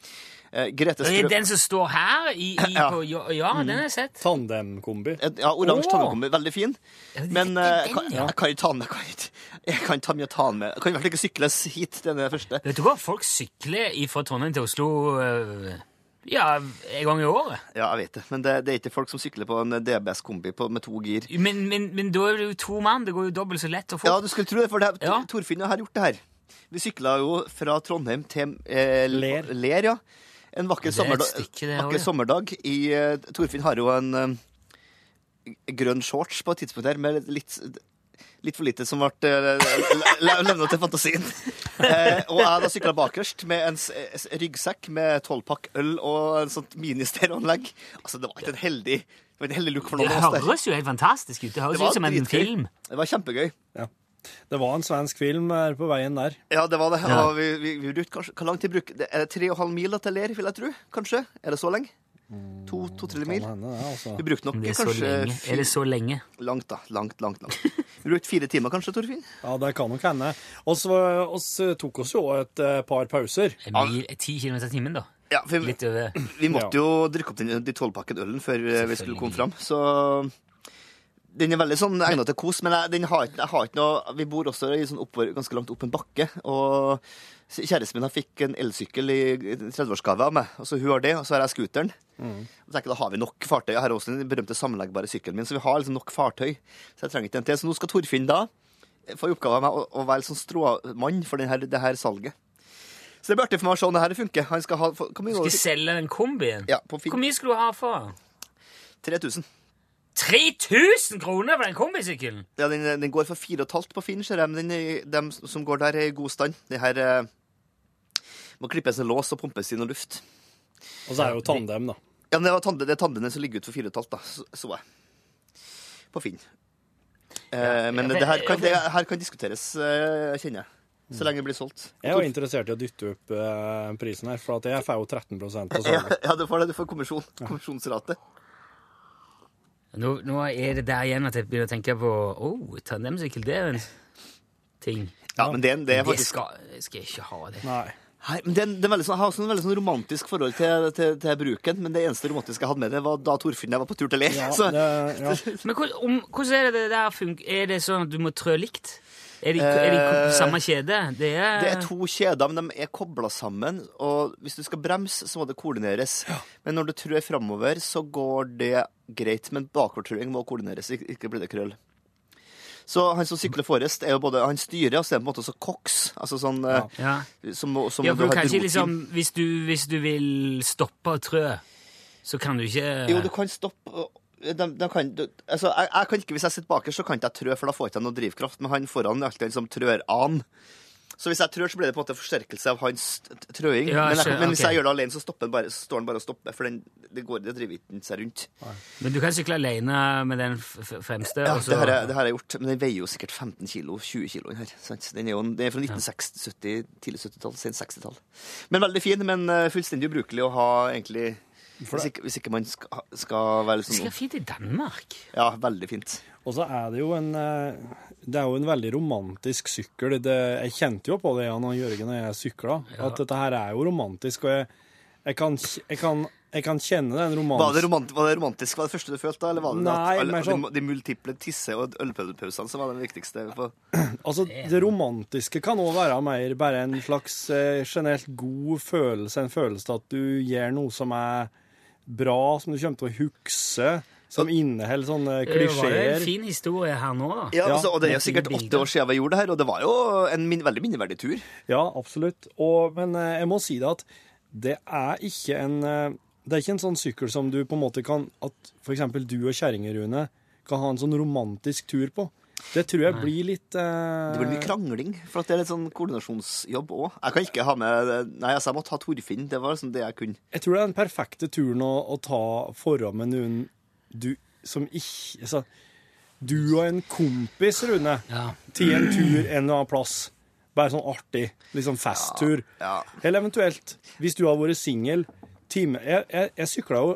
Eh, Grete Det er Strøm... Den som står her i, i Ja. Mm. på Ja, ja den har jeg sett. Tandemkombi. Ja, oransje Åh. tandemkombi. Veldig fin. Men eh, kan, ja. jeg kan ikke ta den med. Jeg kan ikke- Jeg kan ta med, ta den med. Jeg kan i hvert fall ikke sykles hit, denne første. Vet du hva, folk sykler fra Trondheim til Oslo eh, ja, en gang i året. Ja, jeg vet det. Men det, det er ikke folk som sykler på en DBS-kombi på- med to gir. Men, men, men da er det jo to mann. Det går jo dobbelt så lett å få. Ja, du skulle tro det, for det, Tor- Torfinn har gjort det her. Vi sykla jo fra Trondheim til eh, Ler. ja. En vakker, Det er et sommerdag, stykke, det også, vakker ja. sommerdag. I, eh, Torfinn har jo en eh, grønn shorts på et tidspunkt her, med litt, litt for lite som ble eh, levna til fantasien. Eh, og jeg da sykla bakerst med en s s ryggsekk med tolvpakk øl og en sånt ministereoanlegg. Altså, det var ikke en heldig, det var en heldig look for det noen av oss der. høres jo helt fantastisk ut. Det høres Det var ut som en dritgøy. film. Det var kjempegøy. Ja. Det var en svensk film her på veien der. Ja, det var det. Ja. Og vi, vi, vi brukte kanskje, Hvor lang tid bruker det? Er det tre og en halv mil da, til Ler, vil jeg tro? Kanskje? Er det så lenge? To, to-tre mil? altså. Vi brukte nok Men det er så kanskje lenge. Er det så lenge? Langt, da. Langt, langt, langt. Vi brukte fire timer, kanskje, Torfinn? Ja, det kan nok hende. Og så oss tok oss jo et eh, par pauser. Ti kilometer i timen, da. Ja, for Litt over. Vi måtte jo drikke opp den, de tolvpakken ølen før eh, vi skulle komme fram, så den er veldig sånn egnet til kos, men jeg, den har, ikke- jeg har ikke noe Vi bor også i sånn oppover, ganske langt opp en bakke, og kjæresten min han fikk en elsykkel i 30-årsgave av meg, og så hun har det, og så har jeg scooteren. Og så tenker jeg, da har vi nok fartøy. Jeg har også den berømte sammenleggbare sykkelen min, så vi har liksom nok fartøy. Så jeg trenger ikke en til. Så nå skal Torfinn da få i oppgave av meg å, å være sånn stråmann for den her, det her salget. Så det blir artig for meg å se om det her funker. Han skal ha få- Hvor mye Skal jeg selge den kombien? Ja, på Hvor Finn. mye skulle du ha for? 3000. 3000 kroner for den kombisykkelen? Ja, den, den går for 4,5 på Finn, ser jeg, men den, eh, dem som går der, er i god stand. Det her eh, må klippes en lås og pumpes inn noe luft. Og så er det jo tandem, da. Ja, men det, var tande, det er tandemene som ligger ute for 4,5, da, så, så jeg. På Finn. Eh, men ja, det, her for- kan, ja, det for- her kan diskuteres, eh, kjenner jeg. Så lenge det blir solgt. Jeg er jo interessert i å dytte opp eh, prisen her, for at jeg får jo 13 på ja, salget. ja, du får det. Du får kommisjon. Kommisjonsrate. Nå, nå er det der igjen at jeg begynner å tenke på oh, tandemsykkel, det er en ting. Ja, men det, er- det er faktisk- skal, jeg skal ikke ha det. Nei, men det, er- det er veldig sånn, Jeg har også en veldig sånn romantisk forhold til, til, til bruken, men det eneste romantiske jeg hadde med det, var da Torfinn og jeg var på tur til Ler. Ja, så Eh, Men hvor- om, hvordan er det det der fun- Er det sånn at du må trø likt? Er det, er det Eh, samme kjede? Det er, Det er to kjeder, men de er kobla sammen. Og hvis du skal bremse, så må det koordineres. Men når du trør framover, så går det greit. Men bakovertrøing må koordineres, ik- ikke blir det krøll. Så han som sykler forrest, er jo både Han styrer, og så er han på en måte også koks. Altså sånn eh, Ja. Som, som ja, for har du kan et ikke roteam. liksom hvis du, hvis du vil stoppe og trø, så kan du ikke Jo, du kan stoppe og- de, de kan, du, altså, jeg, jeg kan ikke, Hvis jeg sitter bakerst, så kan ikke jeg trø, for da får jeg ikke noe drivkraft. Men han foran er alltid en som trør an. Så hvis jeg trør, så blir det på en måte forsterkelse av hans t- t- trøing. Ja, men, jeg, skjø- men hvis ok. jeg gjør det alene, så, stopper den bare, så står han bare og stopper. For den, det, går, det driver ikke seg rundt. Men du kan sykle alene med den f f fremste. Ja, og så- det, har jeg, det har jeg gjort. Men den veier jo sikkert 15 kilo, 20 kilo, den her. Sant? Den er jo en- den er fra 1970, tidlig 70-tall, sent 60-tall. Men veldig fin, men eh, fullstendig ubrukelig å ha, egentlig. Hvis ikke, hvis ikke man skal, skal være litt Det skal sånn være fint i Danmark. Ja, veldig fint. Og så er det jo en eh, Det er jo en veldig romantisk sykkel. Det, jeg kjente jo på det Jan og Jørgen og jeg sykla, at dette her er jo romantisk. Og jeg, jeg, kan, kj- jeg, kan, jeg kan kjenne den Var det, romansen. romant, var det romantisk? Var det første du følte, da? Eller var det Nei, at alle, mer sånn- de, de multiple tisse- og ølpausene som var den viktigste? På. Altså, det romantiske kan òg være mer bare en slags eh, generelt god følelse, en følelse av at du gjør noe som er bra, som du kommer til å huske, som inneholder sånne Det var jo en klisjeer. fin historie her nå, da. Ja, altså, og Det er Med jo sikkert fine åtte bilder. år siden vi gjorde det her, og det var jo en min, veldig minneverdig tur. Ja, absolutt. Og, men eh, jeg må si det at det er ikke en eh, Det er ikke en sånn sykkel som du på en måte kan At f.eks. du og kjerringa, Rune, kan ha en sånn romantisk tur på. Det tror jeg Nei. blir litt eh, Det blir mye krangling, for at det er litt sånn koordinasjonsjobb òg. Jeg kan ikke ha med Nei, altså, jeg måtte ha Torfinn. Det var liksom det jeg kunne. Jeg tror det er den perfekte turen å, å ta foran med noen du som ikke altså, Du og en kompis, Rune, til en tur en eller annen plass. Bare sånn artig. Liksom festtur. Eller eventuelt, hvis du har vært singel time Jeg, jeg, jeg sykla jo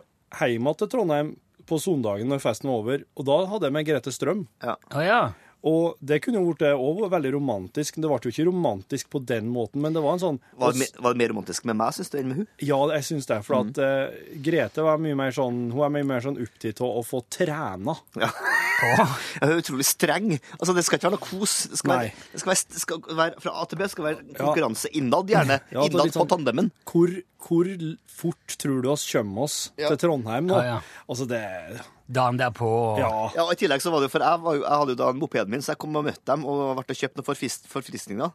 hjem til Trondheim på søndagen når festen var over, og da hadde jeg med Grete Strøm. Ja. Og det kunne jo vært det òg, veldig romantisk. Det ble jo ikke romantisk på den måten, men det var en sånn Var det, me- var det mer romantisk med meg, syns du, enn med hun? Ja, jeg syns det. For Mm. at eh, Grete var mye mer sånn Hun er mye mer sånn opptatt av å få trena. Ja. Hun er utrolig streng. Altså, det skal ikke være noe kos. Det skal, være, det skal, være, det skal være Fra A til B skal være konkurranse innad, gjerne. Ja, det er innad litt på sånn- tandemen. Hvor, hvor l- fort tror du oss kommer oss Ja. til Trondheim nå? Ja, ja. Altså, det Dagen derpå Ja. Ja, og I tillegg så var det jo for jeg, var jo, jeg hadde jo da en mopeden min, så jeg kom og møtte dem og ble og kjøpte noen forfis- forfriskninger.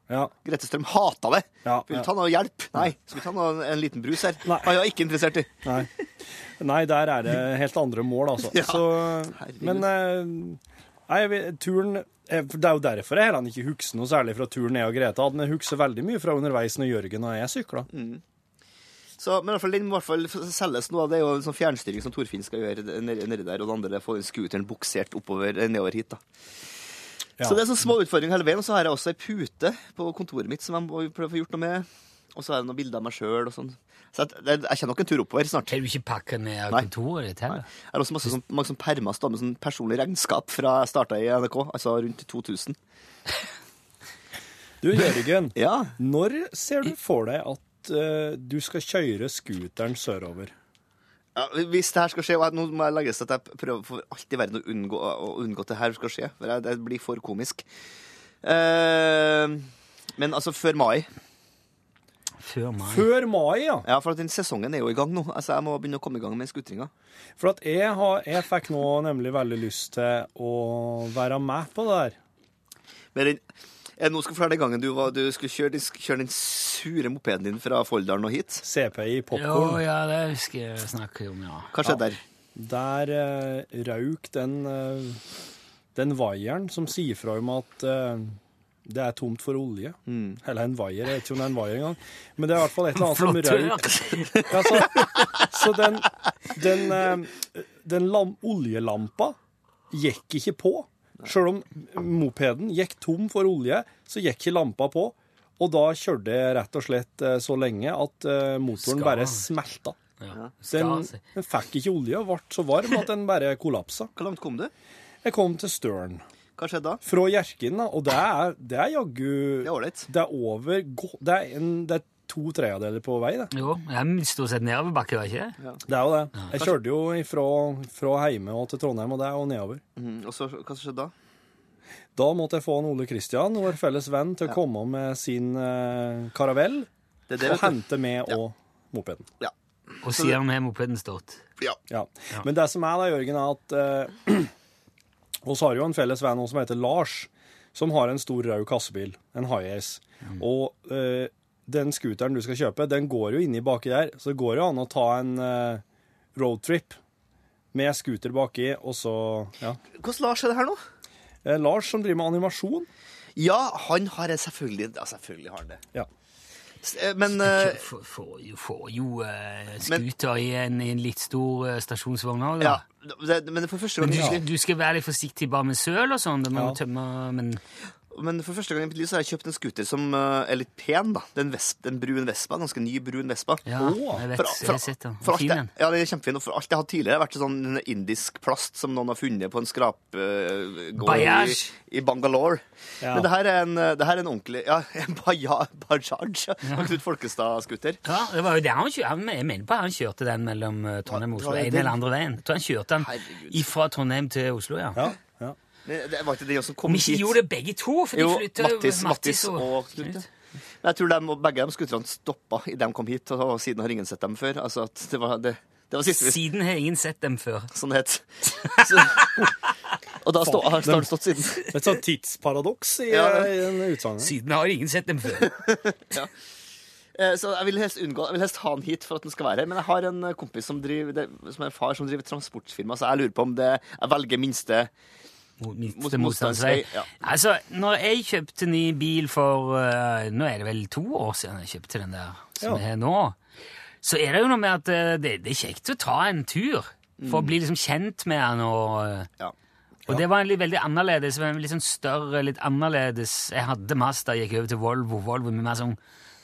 Grete Strøm hata det. Vil du ta noe hjelp? Nei. Skal vi ta noe, en liten brus her? Nei. jeg er ikke interessert i. Nei. Nei, der er det helt andre mål, altså. Ja. Så, men eh, nei, jeg vet- turen eh, for Det er jo derfor jeg heller ikke husker noe særlig fra turen jeg og Grete hadde, men jeg husker veldig mye fra underveis når Jørgen og jeg sykla. Mm. Så, men i hvert fall, den må i hvert fall selges nå. Det er jo en sånn fjernstyring som Torfinn skal gjøre nede- nedi der. Og det andre er å få den scooteren buksert oppover, eh, nedover hit, da. Ja. Så det er sånne små utfordringer hele veien. Og så har jeg også ei pute på kontoret mitt som jeg må prøve å få gjort noe med. Og så er det noen bilder av meg sjøl og sånn. Så jeg, jeg, jeg kjenner nok en tur oppover snart. Har du ikke pakka ned kontoret ditt heller? Jeg har også masse sånn, mange sånn permer stående med sånn personlig regnskap fra jeg starta i NRK, altså rundt 2000. Du, Jørgen, Ja. når ser du for deg at eh, du skal kjøre scooteren sørover? Ja, hvis det her skal skje, og jeg- nå må jeg legge til at jeg prøver for alt i verden å unngå, å unngå at det her skal skje, for jeg- det blir for komisk. Eh, men altså før mai. Før mai. Før mai, ja. Ja, for at den sesongen er jo i gang nå. Altså, jeg må begynne å komme i gang med skutringa. For at jeg, har, jeg fikk nå nemlig veldig lyst til å være med på det der. Men den, jeg nå skal fortelle den gangen du, var, du skulle kjøre, den- kjøre den sure mopeden din fra Folldalen og hit. CPI Jo, popkorn. ja, det husker jeg vi snakket om, ja. Hva skjedde der? Der uh, rauk den, eh, den vaieren som sier fra om at eh, det er tomt for olje. Mm. Eller en vaier, jeg vet ikke om det er en vaier engang. Men det er i hvert fall et eller annet som Flott, rauk. Ja, så, så den, den, eh, den lam, oljelampa gikk ikke på. Selv om mopeden gikk tom for olje, så gikk ikke lampa på. Og da kjørte jeg rett og slett eh, så lenge at eh, Skar. motoren bare smelta. Ja. Skar Den, seg. den fikk ikke olje og ble så varm at den bare kollapsa. Hvor langt kom du? Jeg kom til Støren. Hva skjedde da? Fra Hjerkinn, da. Og det er, det er jaggu Det er ålreit. Det er over gå- Det er, en, det er to tredjedeler på vei, det. Jo, det er stort sett nedoverbakke, var det ikke det? Det er jo det. Jeg kjørte jo ifra, fra hjemme og til Trondheim, og det er jo nedover. Mm, og så, hva som skjedde da? Da måtte jeg få en Ole Kristian, vår felles venn, til å komme med sin eh, karavell Det er det, og vet du. hente med og mopeden. Ja. Og siden har mopeden stått. ja. Ja. Men det som er da, Jørgen, er at eh, oss har jo en felles venn også som heter Lars, som har en stor rød kassebil, en high-ace. Og eh, den scooteren du skal kjøpe, den går jo inni baki der, så det går jo an å ta en eh, roadtrip med scooter baki, og så ja. Hvordan Lars er det her nå? Eh, Lars som driver med animasjon. Ja, han har det selvfølgelig. Ja, selvfølgelig har han det. Ja. S- eh, Men Du eh, får, får jo, får jo eh, skuter i, en, i en litt stor eh, stasjonsvogn òg, da. Ja, det, men for første gang Men du i mitt skal, liv- du skal være litt forsiktig bare med søl og sånn. Du må Ja. tømme Men Men for første gang i mitt liv så har jeg kjøpt en scooter som eh, er litt pen, da. Det er en, vesp, det er en brun Vespa, en ganske ny brun Vespa. ja, Åh, jeg vet, For- jeg for- har sett den. For alt Fin jeg, den. ja, det er kjempefin. Og for alt jeg har tidligere, har vært sånn indisk plast som noen har funnet på en skrapgård i, Bajaj. i Bangalore. Ja. Men det her er en, eh, det her er en ordentlig Ja, en baja- Bajaj. Ja. Knut Folkestad-scooter. Ja, det var jo der han kjørte. Han- Jeg mener bare han kjørte den mellom eh, Trondheim og Ja, Oslo. det var En den. eller andre veien. Jeg tror han kjørte Herregud. den fra Trondheim til Oslo, ja. Ja. ja. Det, det var ikke det som kom Om ikke de hit. gjorde det begge to, for de Jo, flytta jo Mattis, Mattis og Knut. ja. Men jeg tror de, og begge de skutterne stoppa idet de kom hit, og siden har ingen sett dem før. Altså, at det var, det, det var siste vi Siden har ingen sett dem før. sånn det het. Så, og da stå, har det stått siden. Et sånt tidsparadoks i, Ja, det- i en utsagn. Siden har ingen sett dem før. Eh, Så jeg vil helst unngå, jeg vil helst ha han hit for at han skal være her. Men jeg har en eh, kompis som driver, det, som er en far som driver transportfirma, så jeg lurer på om det jeg velger minste Mot Mot- minste motstandsvei. motstandsvei, ja. Altså, når jeg kjøpte ny bil for eh, Nå er det vel to år siden jeg kjøpte den der som Ja. jeg har nå. Så er det jo noe med at eh, det, det er kjekt å ta en tur for å bli liksom kjent med den. Og, eh, Ja. og det var en litt veldig annerledes. En litt sånn større, litt annerledes Jeg hadde Mazda, gikk over til Volvo. Volvo med mer sånn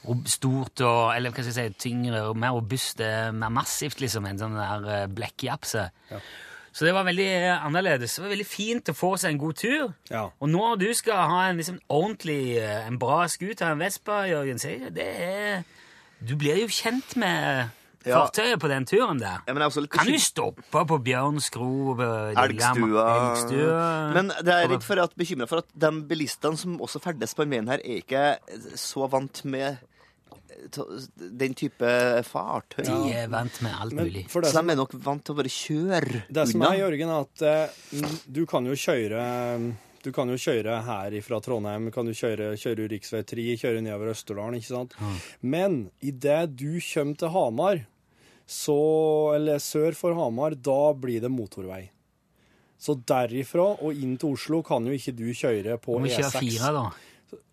rob- stort og Eller hva skal jeg si, tyngre og mer robust, eh, mer massivt, liksom. En sånn der eh, blekkjapse. Så det var veldig eh, annerledes. Det var veldig fint å få seg en god tur. Og når du skal ha en liksom, ordentlig, eh, en bra scooter, en Vespa, Jørgen, så er det er Du blir jo kjent med Ja. fartøyet på den turen der. Ja, men jeg er også litt Kan du bekym- stoppe på Bjørnskro, eh, Elgstua. Lillehammer, Elgstua Men det er redd for at bekymra for at de bilistene som også ferdes på den veien her, er ikke så vant med eh, to- den type fartøy. De er vant med alt Men mulig. for det Så de som- er nok vant til å bare kjøre Det som unna. er, Jørgen, er at eh, du kan jo kjøre du kan jo kjøre her fra Trondheim, kan du kjøre, kjøre rv. 3, kjøre nedover Østerdalen, ikke sant. Men idet du kommer til Hamar, så, eller sør for Hamar, da blir det motorvei. Så derifra og inn til Oslo kan jo ikke du kjøre på Må vi E6. kjøre fire, da?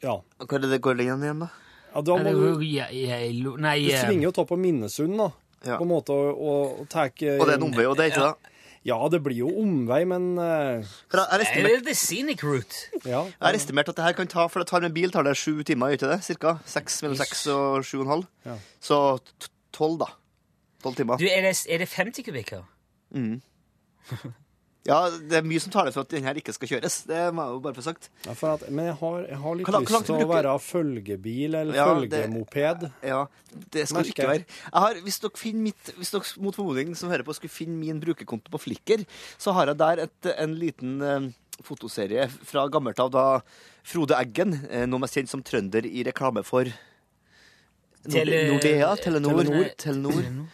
Ja. Hva er det det går igjen igjen, da? Ja, da Nei, må det du var jo- jeg- jeg lo- Nei, du eh, svinger jo ta på Minnesund, da. Ja. På en måte, og, og, og tar ikke- Og det er en omvei, og det er ikke det? eh, Ja, det blir jo omvei, men eh, Jeg har det er estimert, the scenic route. ja. jeg har estimert at det her kan ta For det tar med bil tar det sju timer, gjør ikke det? Cirka? Seks, mellom seks og sju og en halv. Ja. Så t- tolv, da. Tolv timer. Du, er det, er det 50 kubikker? Mm. Ja, det er mye som taler for at den her ikke skal kjøres. Det må jeg jo bare få sagt. Ja, for at, men jeg har, jeg har litt Hvor lang- hvor lang lyst tid til å bruker- være følgebil eller Ja, det- følgemoped. Ja, det skal Merker det ikke være. jeg. Jeg har, hvis dere, finner mitt, hvis dere mot formodning som hører på, skulle finne min brukerkonto på Flikker, så har jeg der et, en liten eh, fotoserie fra gammelt av da Frode Eggen, eh, nå mest kjent som trønder i reklame for Norde, Tele- Nordea, Telenor, eh, Telenor. Mm. Telenor.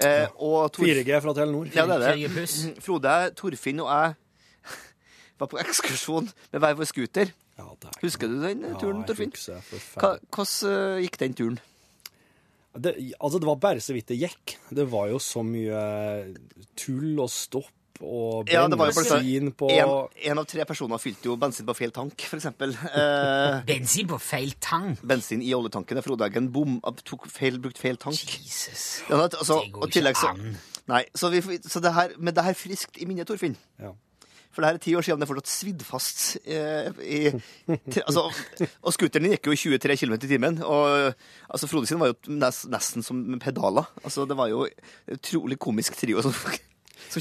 Eh, og Tor- 4G fra Telenor. ja, det er Fire det. pluss. Frode, Torfinn og jeg var på ekskursjon med hver vår scooter. Ja, det er- Husker du den eh, turen, Ja, jeg Torfinn? husker det, forferdelig. Hva- Hvordan eh, gikk den turen? Det, altså, det var bare så vidt det gikk. Det var jo så mye tull og stopp og Ja, det var jo for bensin på en, en av tre personer fylte jo bensin på feil tank, for eksempel. Eh, Bensin på feil tang. bensin i oljetanken. Frode Eggen bom, tok feil, brukt feil tank. Jesus. Ja, det- altså, Det går og ikke tillegg så, an. nei, så, vi, får- så det her, men det her er friskt i minnet, Torfinn. Ja. For det her er ti år siden det er fortsatt svidd fast eh, i til- altså, Og scooteren din gikk jo i 23 km i timen. Og altså, Frode sin var jo nes, nesten som med pedaler. Altså, det var jo en utrolig komisk trio som, som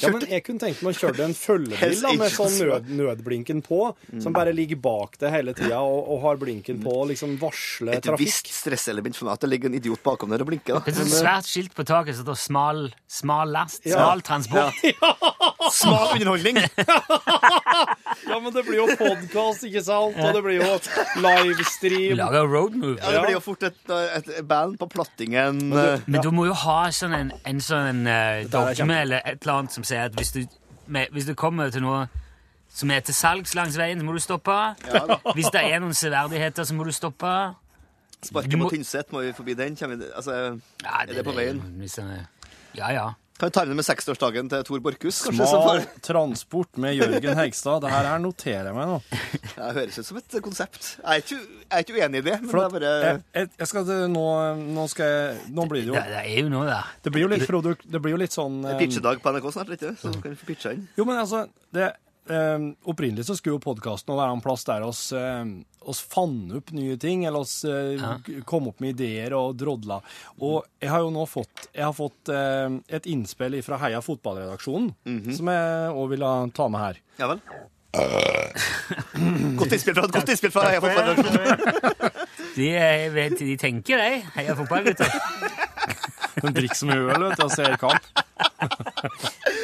Ja, men kjørte. jeg kunne tenkt meg å kjøre en følgebil da, med sånn nød, nødblinken på, som bare ligger bak det hele tida og, og har blinken på og liksom varsler Et trafikk. visst stresselement for meg at det ligger en idiot bakom der og blinker. da. Det er et sånt svært skilt på taket som står 'smal, smal last', 'smal transport'. Smal underholdning. Ja, men det blir jo podkast, ikke sant? Og det blir jo livestream. Lager road movie. Ja, det blir jo fort et, et band på plattingen. eh, Men du må jo ha sånn en, en sånn eh, er dogme kjempe- eller et eller annet som sier at hvis du, med, hvis du kommer til noe som er til salgs langs veien, så må du stoppe. Hvis det er noen severdigheter, så må du stoppe. Sparket du må- på Tynset, må vi forbi den? Kommer vi, altså, Ja, er det på veien? hvis det er- Ja, ja. Kan vi ta med med seksårsdagen til Tor Borchhus? kanskje, som Smal får- transport med Jørgen Hegstad. Det her her noterer jeg meg nå. Det høres ut som et konsept. Jeg er ikke, jeg er ikke uenig i det. Men For det at, er bare jeg, jeg, jeg skal, til- nå, nå skal jeg Nå blir Det, det jo det er jo noe der. Det blir jo litt produkt Det blir jo litt sånn eh, pitchedag på NRK snart, ikke? så kan vi få pitcha inn. Jo, men altså det, eh, Opprinnelig så skulle jo podkasten være en plass der oss, eh, oss fann opp nye ting, eller oss eh, g- kom opp med ideer og drodla. Og jeg har jo nå fått, jeg har fått eh, et innspill fra Heia fotballredaksjonen, som jeg òg ville ta med her. Ja vel? Godt innspill fra godt innspill fra Heia Fotball. De, er- vet, de tenker, de. Heia fotballgutter. Hun drikker som hun øl, vet du, og ser kamp.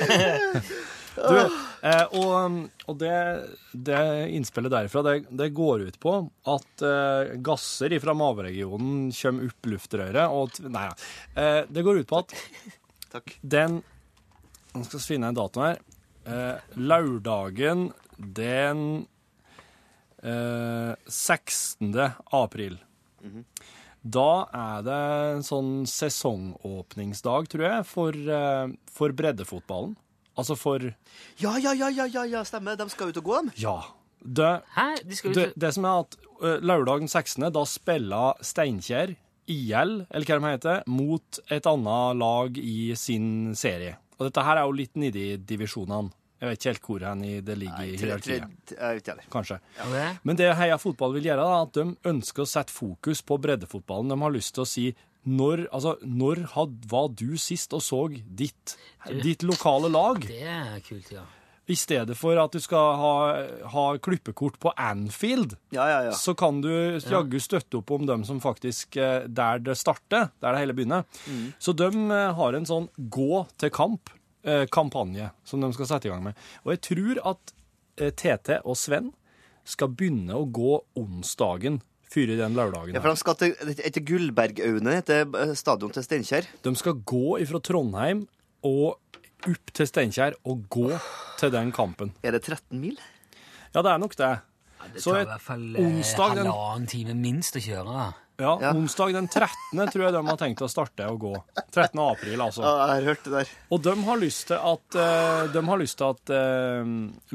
du, eh, og, og det, det innspillet derifra, det, det går ut på at eh, gasser fra maveregionen kommer opp luftrøret, og t- Nei, eh, det går ut på at Takk. den Nå skal vi finne en dato her. Eh, lørdagen den eh, 16. april. Da er det en sånn sesongåpningsdag, tror jeg, for, eh, for breddefotballen. Altså for Ja, ja, ja, ja, ja, ja, stemmer. De skal ut og gå, dem. Ja. Det, Hæ? De skal ut det, det som er at eh, lørdagen 16., da spiller Steinkjer IL, eller hva de heter, mot et annet lag i sin serie. Og dette her er jo litt nedi divisjonene. Jeg vet ikke helt hvor hen i det ligger i Tre- tre- hierarkiet, Jeg vet eh, ikke heller. kanskje. Ok. Men det Heia Fotball vil gjøre, da, er at de ønsker å sette fokus på breddefotballen. De har lyst til å si Når, altså, når had, var du sist og så ditt, ditt lokale lag? Det er kult, ja. I stedet for at du skal ha, ha klippekort på Anfield, så kan du jaggu støtte opp om dem som faktisk eh, Der det starter, der det hele begynner. Mm. Så de eh, har en sånn gå til kamp-kampanje som de skal sette i gang med. Og jeg tror at eh, TT og Sven skal begynne å gå onsdagen før den lørdagen. Ja, for de skal til, etter Gullbergaune, etter eh, stadion til Steinkjer. De skal gå ifra Trondheim og opp til Steinkjer og gå til den kampen. Er det 13 mil? Ja, det er nok det. Det Så tar i et- hvert fall eh, onsdag den, halvannen time minst å kjøre. da. ja, onsdag den 13. tror jeg de har tenkt å starte å gå. 13. april, altså. Ja, jeg har hørt det der. Og de har lyst til at, eh, de har lyst til at eh,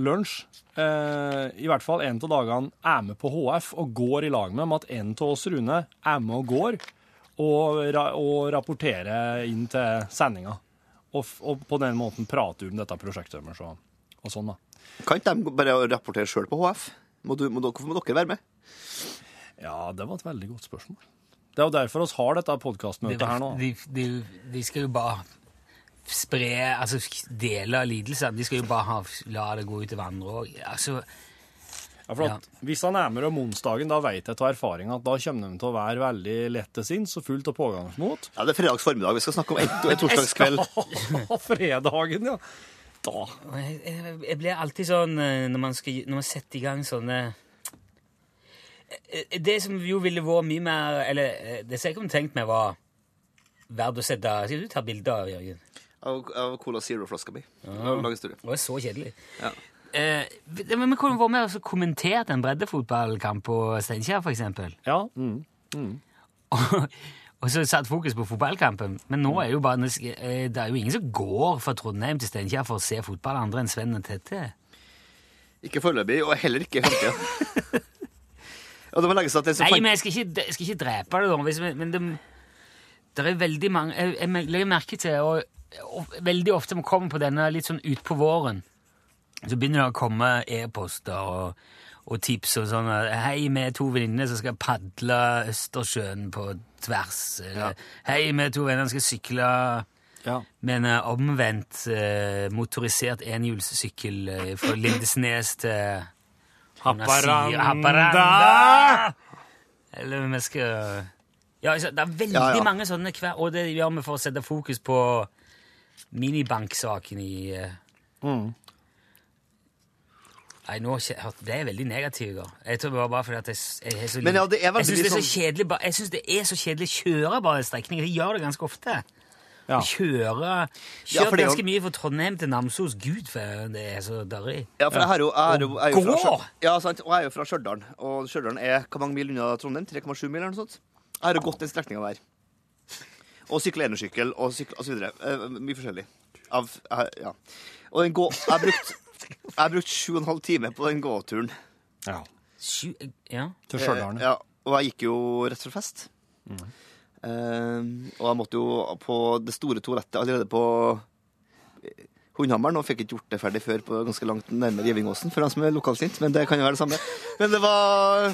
lunsj, eh, i hvert fall en av dagene, er med på HF og går i lag med dem. At en av oss, Rune, er med og går og, ra og rapporterer inn til sendinga. Og, f og på den måten prater om dette prosjektet deres og, og sånn, da. Kan ikke de bare rapportere sjøl på HF? Må du, må dere, hvorfor må dere være med? Ja, det var et veldig godt spørsmål. Det er jo derfor oss har dette De, podkastmøtet her nå. de, de, de skal jo bare spre Altså dele lidelser. De skal jo bare ha, la det gå ut til hverandre òg. Altså, Ja, for at Hvis han er med om onsdagen, da vet jeg av erfaring at da kommer de til å være veldig lett til sinns og fullt av pågangsmot. Ja, Det er fredags formiddag vi skal snakke om. Et, et torsdagskveld. Fredagen, ja. Da. Jeg, jeg, jeg blir alltid sånn eh, når man, skal, når man setter i gang sånne Eh, Det som jo ville vært mye mer Eller eh, det som jeg kunne tenkt meg, var verdt å sette Skal du ta bilde av, Jørgen? Av, av Cola Zero-flaska mi. Ja. Lang historie. Det var så kjedelig. Ja. Eh, det- men vi kunne vært med og så kommentert en breddefotballkamp på Steinkjer, for eksempel. Ja. Og, og så satt fokus på fotballkampen. Men nå er jo bare, eh, det er jo ingen som går fra Trondheim til Steinkjer for å se fotball andre enn Sven og Tette. Ikke foreløpig, og heller ikke i framtida. og det må legges til at den som Nei, fant- men jeg skal ikke, jeg skal ikke drepe det, da. Hvis, vi- men det, det er veldig mange Jeg, jeg legger merke til og, og Veldig ofte man kommer på denne litt sånn utpå våren, så begynner det å komme e-poster og, og tips og sånn Hei, vi er to venninner som skal padle Østersjøen på tvers. Eller, Hei, vi er to venner som skal sykle med en eh, omvendt eh, motorisert enhjulssykkel eh, fra Lindesnes til Haparanda! Haparanda! Eller vi skal Ja, altså, det er veldig Ja, ja. mange sånne hver Og det gjør vi for å sette fokus på minibanksaken i eh, Mm. Nei, nå kje- hørte- ble jeg veldig negativ i går. Jeg tror det var bare fordi at jeg, s- jeg, er så, Men ja, det er veldig jeg synes det er så sånn- kjedelig ba- Jeg synes det er så kjedelig å kjøre bare strekninger. Jeg gjør det ganske ofte. Ja. Kjøre Ja, Kjørt for det er jo- ganske mye fra Trondheim til Namsos. Gud, for det er så dørrig. Ja, for jeg har jo, jeg har jo, jeg er jo fra Gå! Stjørdal. Ja, sant. Og jeg er jo fra Stjørdal. Og Stjørdal er hvor mange mil unna Trondheim? 3,7 mil eller noe sånt? Jeg har jo gått den strekninga der. Og sykla enersykkel og sykla osv. Eh, mye forskjellig. Av jeg- Ja. Og den gå... Jeg brukte jeg brukte sju og en halv time på den gåturen. Ja. Sju, ja. Til Stjørdal, Eh, ja. Og jeg gikk jo rett fra fest. Eh, og jeg måtte jo på det store toalettet allerede på eh, Hundhammeren, og fikk ikke gjort det ferdig før på ganske langt nærmere Givingåsen, for dem som er lokalsint, men det kan jo være det samme. Men det var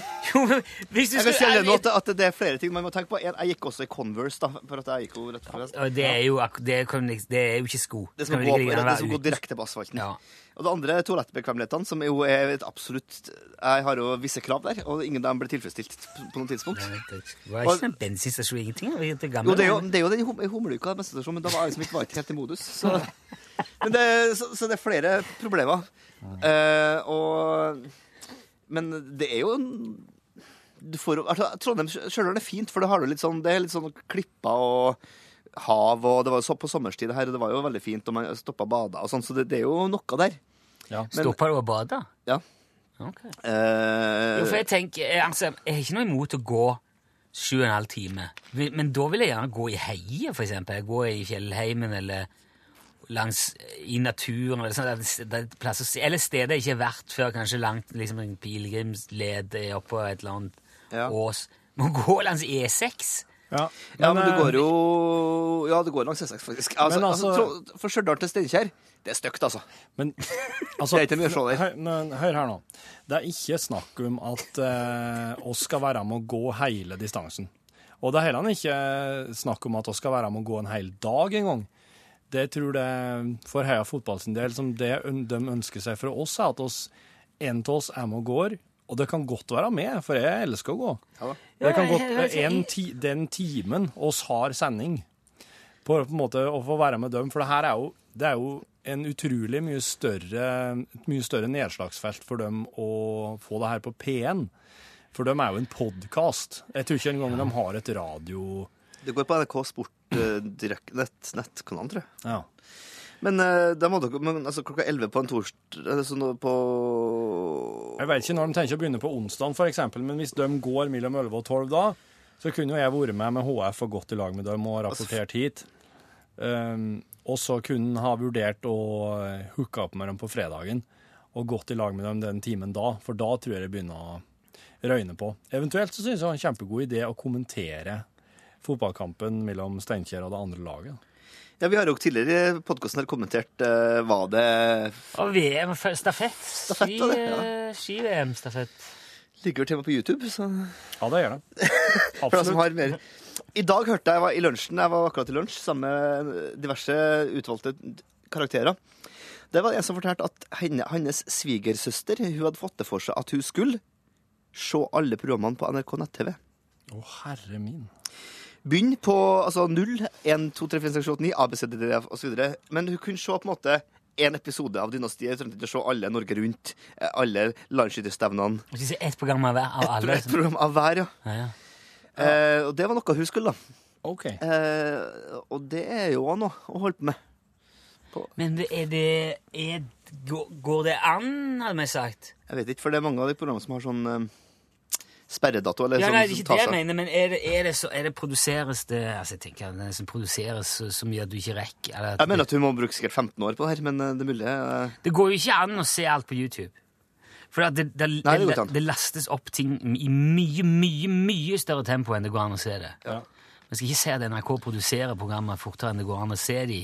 Hvis du Jeg skulle- kan si allerede nå at, at det er flere ting man må tenke på. En, Jeg gikk også i Converse, da, for at jeg gikk jo rett fra fest. Og det er jo, ak- det kan, liksom- det er jo ikke sko. Det som, Kan går, jo like gjerne det, være som går uten. direkte på asfalten. Og det andre er toalettbekvemmelighetene, som jo er et absolutt Jeg har jo visse krav der, og ingen av dem ble tilfredsstilt på på noe tidspunkt. Det var ikke en bensinstasjon, ingenting. det var helt gamle jo, det er jo, dager. det er jo den hum- humleuka, jeg mest men da var jeg liksom ikke var ikke helt i modus. Så, men det, så, så det er flere problemer. Eh, og Men det er jo en- du får, jo- altså, Trondheim Stjørdal er fint, for det, har du litt sånn, det er litt sånn klipper og hav, og det var jo så på sommerstid her, og det var jo veldig fint, og man stoppa og bada og sånn, så det, det er jo noe der. Ja. Men- Stoppa du og bada? Ja. Ok. Eh, Jo, for jeg tenker, eh, altså, jeg har ikke noe imot å gå sju og en halv time. Men men da vil jeg gjerne gå i heiet, for eksempel. Gå i fjellheimen eller langs, eh, i naturen, eller, sånn, der- der er plass å se- eller steder jeg ikke har vært før, kanskje langt, liksom en pilegrimsled eh, oppå et eller annet ås. Må gå langs E E6. Ja, Ja, men det går jo Ja, det går langs E6, faktisk. Altså, eh, Men altså- altså, Tro- for Stjørdal til Steinkjer, det er stygt, altså. Men altså, Det er ikke mye å se der. Hør, men hør her nå. Det er ikke snakk om at eh, oss skal være med å gå hele distansen. Og det er heller ikke snakk om at vi skal være med å gå en hel dag en gang. Det jeg tror det for Heia fotball sin del, som det øn- de ønsker seg fra oss, er at oss, en av oss er med og går. Og det kan godt være med, for jeg elsker å gå. Ja, Det kan jeg- godt jeg- altså, jeg- en ti, Den timen oss har sending, på, på en måte å få være med dem. For det her er jo, det er jo en utrolig mye større, et mye større nedslagsfelt for dem å få det her på P1. For dem er jo en podkast. Jeg tror ikke engang de har et radio... Det går på NRK Sport eh, direkt, nett, nettkanalen, tror jeg. Ja. Men eh, da må dere men, altså, klokka 11 på en torsdag altså, nå på Jeg vet ikke når de tenker å begynne på onsdag, f.eks., men hvis de går mellom 11 og 12 da, så kunne jo jeg vært med med HF og gått i lag med dem og rapportert hit. Um, og så kunne ha vurdert å eh, hooke opp med dem på fredagen og gått i lag med dem den timen da, for da tror jeg det begynner å røyne på. Eventuelt så synes jeg det var en kjempegod idé å kommentere fotballkampen mellom Steinkjer og det andre laget. Ja, vi har jo tidligere i podkasten her kommentert eh, hva det Og VM-stafett. Stafett, da, det, ja. eh, Ski-VM-stafett. Ligger til og med på YouTube, så Ja, det gjør det. For deg som har mer. I dag hørte jeg, jeg var i lunsjen, jeg var akkurat i lunsj, sammen med eh, diverse utvalgte karakterer. Det var en som fortalte at henne, hennes svigersøster hun hadde fått det for seg at hun skulle se alle programmene på NRK nett-TV. Å, herre min. Begynn på altså 0, 1, 2, 3, 4, 6, 7, 8, 9, ABCDDF osv. Men hun kunne se på en måte én episode av Dynastiet. Hun trengte ikke å se alle Norge Rundt, eh, alle landskytterstevnene. Jeg skal si ett program av, hver- av Et, alle. et program av hver, ja. Ja, ja. Eh, og det var noe hun skulle, da. Ok. Eh, og det er jo noe å holde på med. Men det- er det er, går, går det an, hadde vi sagt? Jeg vet ikke, for det er mange av de programmene som har sånn eh, sperredato. Eller Ja, sånn, nei, det er som ikke tar det jeg seg- mener, men er det, er det, så, er det produseres det altså jeg tenker, det som produseres så, så mye at du ikke rekker? Eller, Jeg mener at hun må bruke sikkert 15 år på det her, men eh, det er mulig eh, Det går jo ikke an å se alt på YouTube. For at det, det, Nei, det det, går ikke an. det lastes opp ting i mye, mye mye større tempo enn det går an å se det. Man skal ikke se at NRK produserer programmer fortere enn det går an å se de.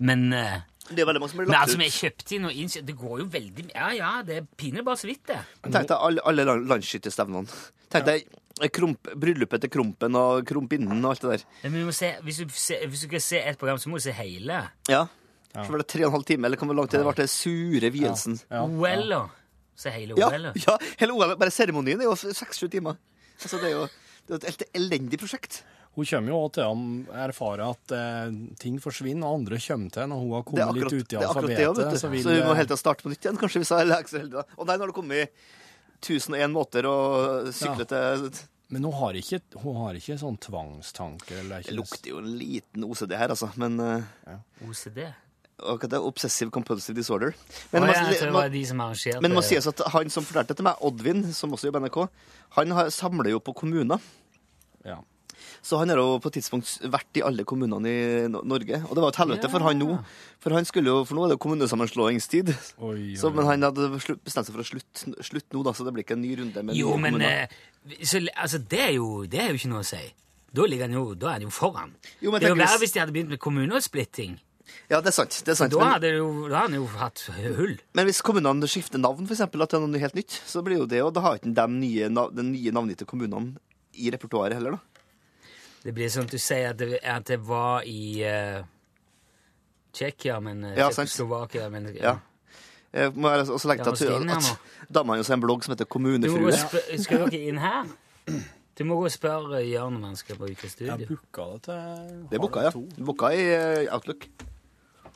Men, eh, Det er veldig mange som blir men lagt altså, vi ut. kjøpte inn og innså Det går jo veldig Ja, ja, det er pinlig bare så vidt, det. Tenk deg alle, alle land- landsskytterstevnene. Tenk deg eh, krump, bryllupet til Krompen og Krompinnen og alt det der. Men vi må se, hvis, du se, hvis du skal se et program, så må du se hele. Ja. Så var det tre og en halv time, eller hvor lang tid det var til sure vielsen. Oella. Se hele Ja, Oella. ja, hele OL, bare seremonien er jo seks-sju timer. Altså, det er jo det er et helt elendig prosjekt. Hun kommer jo også til å erfare at eh, ting forsvinner, og andre kommer til når hun har Det er kommet litt akkurat ut i det, er akkurat det, vet alfabetet. du. Så, vil vi det- må helt til å starte på nytt igjen, kanskje. vi sa, eller er ikke så heldig da. Å nei, nå har det kommet 1001 måter å sykle til Men hun har ikke, hun har ikke sånn tvangstanker? Eller er Det ikke lukter jo en liten OCD her, altså. Men eh, OCD. og hva det er Obsessive Compulsive Disorder. Men, Men, ja, jeg man, tror det var de som arrangerte men det må sies at han som fortalte det til meg, Oddvin, som også jobber i NRK, han har, samler jo på kommuner. Ja. Så han har jo på et tidspunkt vært i alle kommunene i No- Norge. Og det var et helvete Ja. for han nå. For han skulle jo, for nå er det jo kommunesammenslåingstid. Oi, Så, oi, men han hadde beslu- bestemt seg for å slutte slutt nå, da, så det blir ikke en ny runde med Jo, nye men kommuner. eh, så, altså, det, er jo, det er jo ikke noe å si. Da, ligger han jo, da er han jo foran. Jo, men det er jo tenker verre hvis- hvis de hadde begynt med kommunesplitting. Ja, det er sant. Det er sant. da, men- hadde jo, da hadde han jo hatt hull. Men hvis kommunene skifter navn, for eksempel, at det er noe helt nytt, så blir jo det, og da har ikke de nye, nav- den nye navngitte kommunene i repertoaret heller, da. Det blir sånn at du sier at det, at det var i eh, Tsjekkia, men uh, Ja, sant. Tsjekkoslovakia men, Ja. Eh, må jeg også legge til Ja, at, Stine, ja, at damene har jo en blogg som heter Du må gå Kommunefrue. og spør- skal dere inn her? Du må gå og spørre Jørn om han skal bruke Jeg studio. booka det til Det er booka, ja. Booka i eh, Outlook.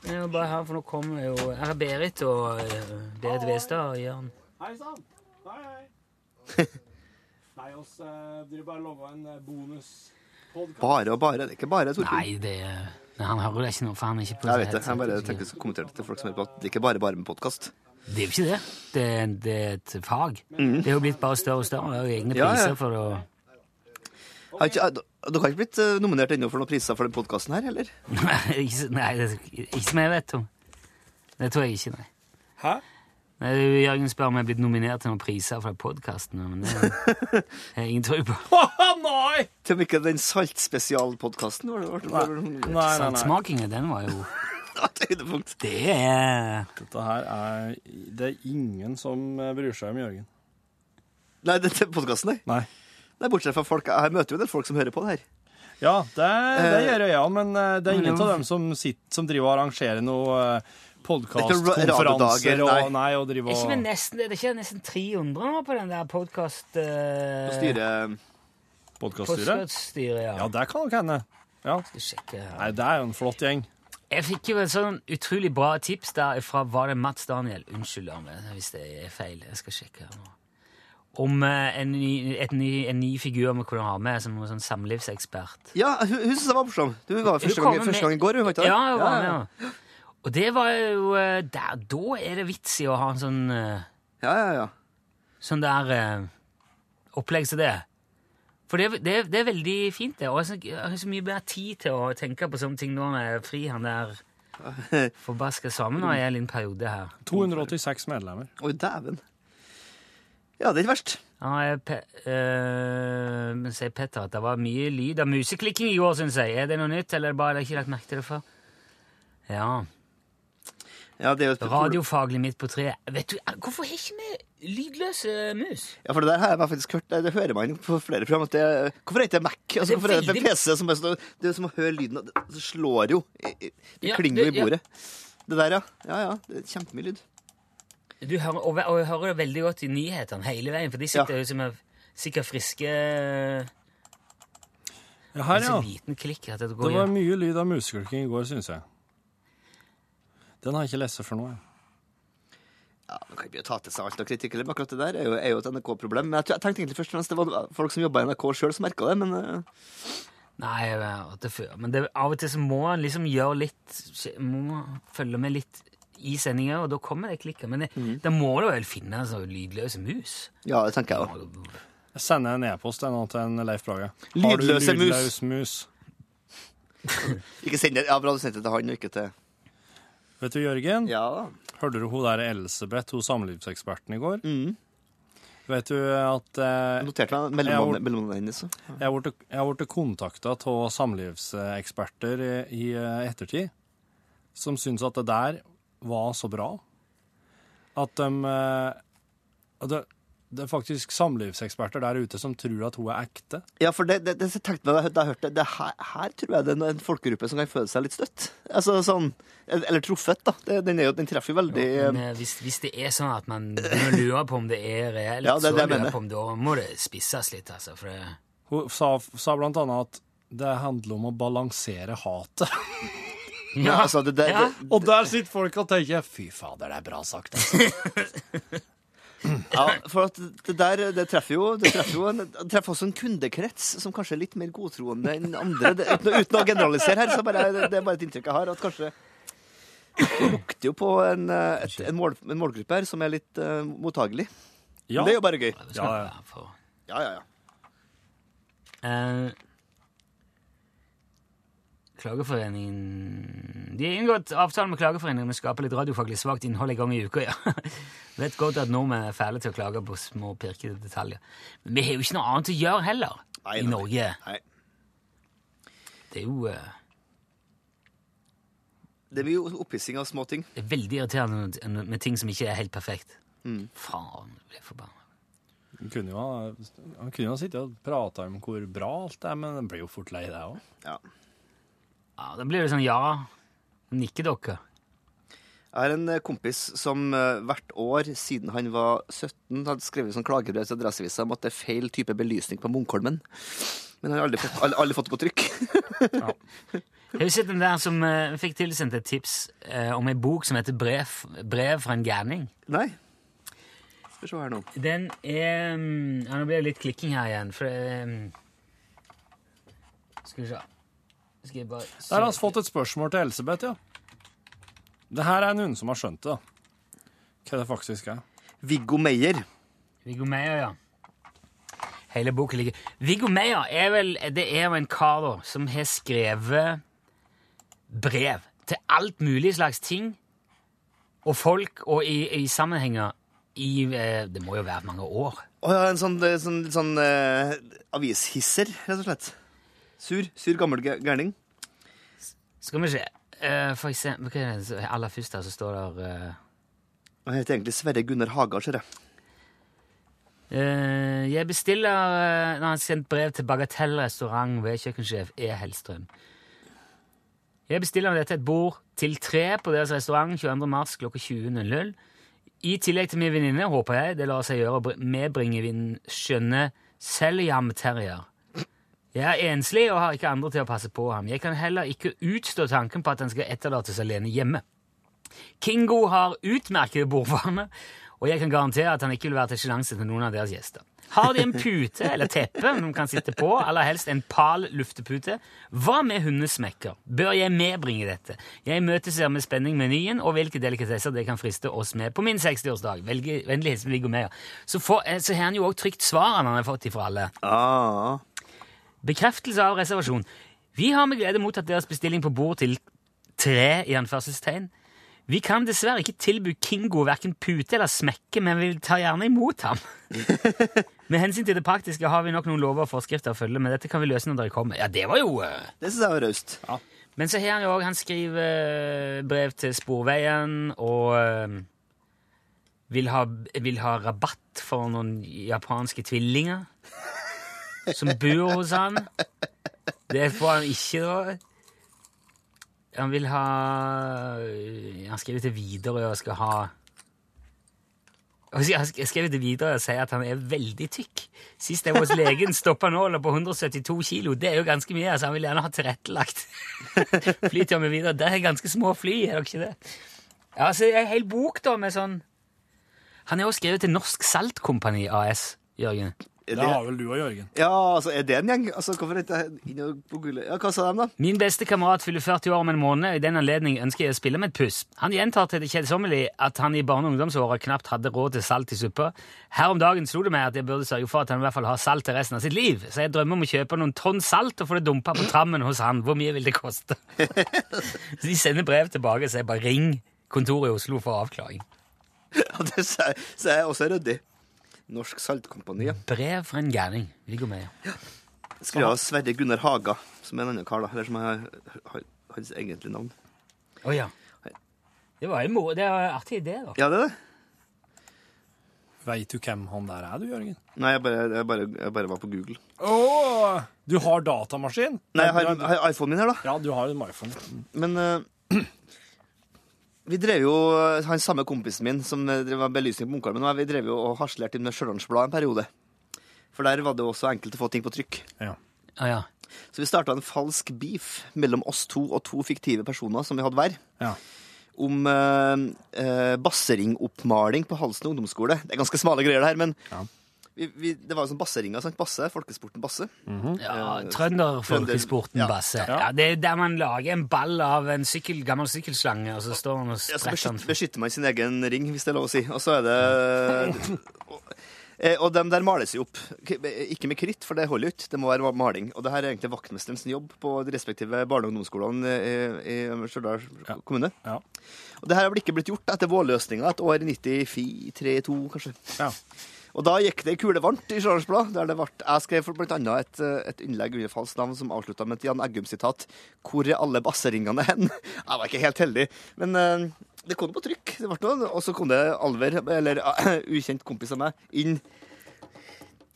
Jeg må bare her, for nå kommer jo Her er Berit og eh, Berit Westad og Jørn. Hei sann! Hei, hei. Nei, oss eh, driver bare og lager en eh, bonuspodkast. Bare og bare. Det er ikke bare, Torfinn. Nei, det er- Nei, han hører det ikke nå, for han er ikke på Jeg vet det. Jeg bare headsetet. tenker å kommentere til folk som hører på at det er ikke bare bare med podkast. Det er jo ikke det. Det, er- det er et fag. Mhm. Det er jo blitt bare større og større. Det er jo egne Ja, ja. priser for det. og- Har ikke- eh, Dere har ikke blitt eh, nominert ennå for noen priser for den podkasten her, eller? Nei, ikke så- nei, det, ikke som jeg vet om. Det tror jeg ikke, nei. Hæ? Nei, Jørgen spør om jeg er blitt nominert til noen priser fra podkasten, men det har jeg ingen tro på. nei! Til og med ikke den saltspesialpodkasten var det ble nominert. Saltsmakingen, den var jo Det er Dette her er Det er ingen som eh, bryr seg om Jørgen. Nei, dette podkasten, nei. Nei. Nei, bortsett fra folk Jeg møter jo en del folk som hører på det her. Ja, det, det Eh, gjør jeg, ja, men eh, det er ingen men- av dem som, sitter, som driver og arrangerer noe eh, Det er ikke radiodager, podcastkonferanser og, nei. nei, og driver Er ikke vi og nesten, er det ikke nesten 300 nå på den der podkast... Uh, eh, Podcaststyret? ja. Ja, det kan nok hende. Ja. Nei, det er jo en flott gjeng. Jeg fikk jo et sånn utrolig bra tips der fra Var det Mats Daniel? Unnskyld om det, hvis det er feil. Jeg skal sjekke her nå. Om eh, en ny, et ny, en ny figur vi kunne ha med som noen sånn samlivsekspert. Ja, hun, hun syntes jeg var morsom. Du var Hun første kom gang, med- første gang i går, hun, var ikke det? Ja, hun var med, ja. Og det var jo eh, der, Da er det vits i å ha en sånn eh, Ja, ja, ja. Sånn der eh, opplegg som det. For det, er- det, er- det er veldig fint, det. Og jeg har så- jeg har så mye mer tid til å tenke på sånne ting nå når jeg er fri. Han der forbaska sammen og jeg er i en periode her. 286 medlemmer. Oi, dæven. Ja, det er ikke verst. Ja, jeg pe eh, men sier Petter at det var mye lyd av museklikking i går, syns jeg. Er det noe nytt, eller bare har jeg ikke lagt merke til det før? Ja. Ja, det er jo et Radiofaglig midt på treet. Vet du, Hvorfor har ikke vi lydløse mus? Ja, for det der har jeg faktisk hørt, det hører man på flere program. At det, hvorfor heter det Mac? Altså, Det er hvorfor er det på veldig- PC som er sånn Det er som å høre lyden av- Det slår jo. Det Ja, klinger jo det- i ja. bordet. Det der, ja. Ja, ja. Det er kjempemye lyd. Du hører, og, og jeg hører det veldig godt i nyhetene hele veien, for de sitter jo som er sikkert friske Ja, her, En ja. så liten klikk at det Det går var igjen. mye lyd av museklikking i går, syns jeg. Den har jeg ikke lest for noe. jeg. Ja, Man kan ikke ta til seg alt av kritikk, eller, men akkurat det der er jo, er jo et NRK-problem. Men jeg, tror- jeg tenkte egentlig først og fremst det var folk som jobba i NRK sjøl som merka det, men eh, Nei, jeg vet det før. Men det, av og til så må en liksom gjøre litt Må følge med litt i sendinga, og da kommer det klikket. Men det, Mhm. da må du vel finne sånne lydløse mus? ja, det tenker jeg òg. Jeg sender en e-post til en til en Leif Brage. Har du Lydløse mus. lydløs mus? Ikke send det, ja, bra du sendte det til han, og ikke til Vet du, Jørgen, Ja da. hørte du hun der Elisabeth, hun samlivseksperten, i går? Vet du at eh, Noterte meg mellomnavnet mellomnavnet hennes. så. Jeg har blitt- jeg har blitt kontakta av samlivseksperter i, i ettertid som syns at det der var så bra at de eh, at det, det er faktisk samlivseksperter der ute som tror at hun er ekte. Ja, for det, det, det jeg tenkte meg da jeg- da jeg hørte det, det her, her tror jeg det er en folkegruppe som kan føle seg litt støtt. Altså sånn, Eller truffet, da. Det, den, er jo, den treffer jo veldig Men eh, hvis, hvis det er sånn at man begynner å lure på om det er reelt, Ja, det er så det jeg lurer mener. jeg på om da må det spisses litt, altså. For det, Hun sa, sa blant annet at det handler om å balansere hatet. ja, altså, det, det, Ja. det, Og der sitter folk og tenker 'fy fader, det er bra sagt'. altså». ja, For at det der det treffer jo, det treffer jo en, det treffer også en kundekrets som kanskje er litt mer godtroende enn andre. Det, uten, å- uten å generalisere her, så bare, det, det er bare et inntrykk jeg har. At kanskje det lukter jo på en, eh, et, en, mål, en målgruppe her som er litt eh, mottagelig. Ja. Men det er jo bare gøy. det skal Ja, ja. være for. Ja, ja, ja. Eh, Klageforeningen De har inngått avtale med Klageforeningen om å skape litt radiofaglig svakt innhold en gang i uka, ja. Vet godt at nordmenn er fæle til å klage på små pirkede detaljer. Men vi har jo ikke noe annet å gjøre heller Nei, i nei. Norge. Nei. Det er jo eh, Det blir jo opphissing av små ting. det er veldig irriterende når- når- med ting som ikke er helt perfekt. Mm. Faen, jeg blir forbanna. Hun kunne jo ha, hun kunne jo ha sittet og prata om hvor bra alt er, men hun blir jo fort lei det òg. Ja. Ja, da blir det sånn ja, nikker dere. Jeg har en eh, kompis som eh, hvert år siden han var 17, hadde skrevet sånn klagebrev til Adresseavisa om at det er feil type belysning på Munkholmen. Men han har aldri fått, aldri, aldri fått det på trykk. Jeg har jo sett den der som eh, fikk tilsendt et tips eh, om ei bok som heter Brev, brev fra en gærning. Nei. Skal vi se her nå. Den er mm, ja, Nå blir det litt klikking her igjen, for mm, Skal vi se Skal jeg bare Der har vi fått et spørsmål til Elsebeth, ja. Det her er noen som har skjønt det, da. Hva det faktisk er. Viggo Meyer. Viggo Meyer, ja. Hele boken ligger Viggo Meyer er vel Det er jo en kar da, som har skrevet brev til alt mulig slags ting og folk og i, i sammenhenger i eh, Det må jo være mange år. Å ja, en sånn, eh, sånn, litt sånn eh, avishisser, rett og slett. Sur. Sur gammel gæ- gærning. Skal vi se Eh, For eksempel hva er det som- Aller først her så står der eh, Han heter egentlig Sverre Gunnar Hagar, ser jeg. Eh, jeg bestiller eh, Nå har han sendt brev til Bagatell restaurant ved kjøkkensjef E. Hellstrøm. Jeg bestiller med dette et bord til tre på deres restaurant 22. mars klokka 20.00. I tillegg til min venninne, håper jeg, det lar seg gjøre å br- medbringe min skjønne Seljam-terrier. Jeg er enslig og har ikke andre til å passe på ham. Jeg kan heller ikke utstå tanken på at han skal etterlates alene hjemme. Kingo har utmerkede bordvaner, og jeg kan garantere at han ikke vil være til sjenanse til noen av deres gjester. Har de en pute eller teppe de kan sitte på, aller helst en pal luftepute? Hva med hundesmekker? Bør jeg medbringe dette? Jeg imøteser med spenning menyen og hvilke delikatesser det kan friste oss med på min 60-årsdag. Velge- Vennlig hilsen Viggo Meyer. Så, får- eh, så har han jo òg trygt svarene han har fått ifra alle. Ah. Bekreftelse av reservasjon. Vi har med glede mottatt deres bestilling på bord til tre, i anførselstegn. Vi kan dessverre ikke tilby Kingo hverken pute eller smekke, men vi tar gjerne imot ham. med hensyn til det praktiske har vi nok noen lover og forskrifter å følge, men dette kan vi løse når dere kommer. Ja, det var jo... eh, Det syns jeg var raust. men så har han jo òg Han skriver eh, brev til Sporveien og eh, vil ha, vil ha rabatt for noen japanske tvillinger som bor hos han. Det får han ikke, da. Han vil ha eh, Han skriver til Widerøe og skal ha Og så- Han sk- skriver til Widerøe og sier at han er veldig tykk. Sist jeg var hos legen, stoppa han nåla på 172 kilo. Det er jo ganske mye, så han vil gjerne ha tilrettelagt flytur med videre. Det er ganske små fly, er det ikke det? Ja, så det er en hel bok da med sånn... Han er jo skrevet til Norsk Saltkompani AS, Jørgen. Er Det har det, vel du og Jørgen. ja, altså, er det en gjeng? Altså, hvorfor er det ikke inn og på gullet? Ja, hva sa de, da? Min beste kamerat fyller 40 år om en måned, og i den anledning ønsker jeg å spille med et puss. Han gjentar til det kjedsommelige at han i barne- og ungdomsåra knapt hadde råd til salt i suppa. Her om dagen slo det meg at jeg burde sørge for at han i hvert fall har salt til resten av sitt liv, så jeg drømmer om å kjøpe noen tonn salt og få det dumpa på trammen hos han. Hvor mye vil det koste? så de sender brev tilbake, så jeg bare ring kontoret i Oslo for avklaring. Ja, det sa jeg, sa jeg også ryddig. Norsk Saltkompani. ja. Brev fra en gærning. Viggo Meyer. Skrevet av Sverre Gunnar Haga, som er en annen kar, da. Eller som er har- hans egentlige navn. Å ja. Det var en moro. Det var en artig idé, da. Ja, det er det. Veit du hvem han der er, du, Jørgen? Nei, jeg bare, jeg bare, jeg bare var på Google. Åh, du har datamaskin? Nei, jeg har, jeg har iPhonen min her, da. Ja, du har en iPhone. Men eh, vi drev jo Han samme kompisen min som eh, drev med belysning på Munkholmen, og jeg, vi drev jo og harselerte inn med Stjørdals Blad en periode. For der var det jo også enkelt å få ting på trykk. Å ja. Så vi starta en falsk beef mellom oss to og to fiktive personer som vi hadde hver. Ja. Om eh, eh, basseringoppmaling på Halsen ungdomsskole. Det er ganske smale greier, det her, men vi, vi, det var jo sånn basseringer. Sant? Basse, folkesporten Basse. Mhm. Ja, Trønderfolkesporten, Mm. Ja. Basse. Ja. det er der man lager en ball av en sykkel, gammel sykkelslange, og så står man og Ja, så spretter beskytter, den. beskytter man sin egen ring, hvis det er lov å si. Og så er det Eh, Og dem der males jo opp. K- Ikke med kritt, for det holder jo ikke. Det må være maling. Og det her er egentlig vaktmesterens jobb på de respektive barne- og ungdomsskolene i, i Stjørdal kommune. Ja. Og det her har vel ikke blitt gjort etter vårløsninga et år i 94-2, kanskje. Ja. Og da gikk det kule varmt i Stjørdals Blad. der det vart- Jeg skrev for blant annet et, eh, et innlegg under falskt navn som avslutta med et Jan Eggum-sitat. 'Hvor er alle basseringene hen?' Jeg var ikke helt heldig, men eh, det kom på trykk. Det ble noe, Og så kom det Alver, eller eh, ukjent kompis av meg, inn.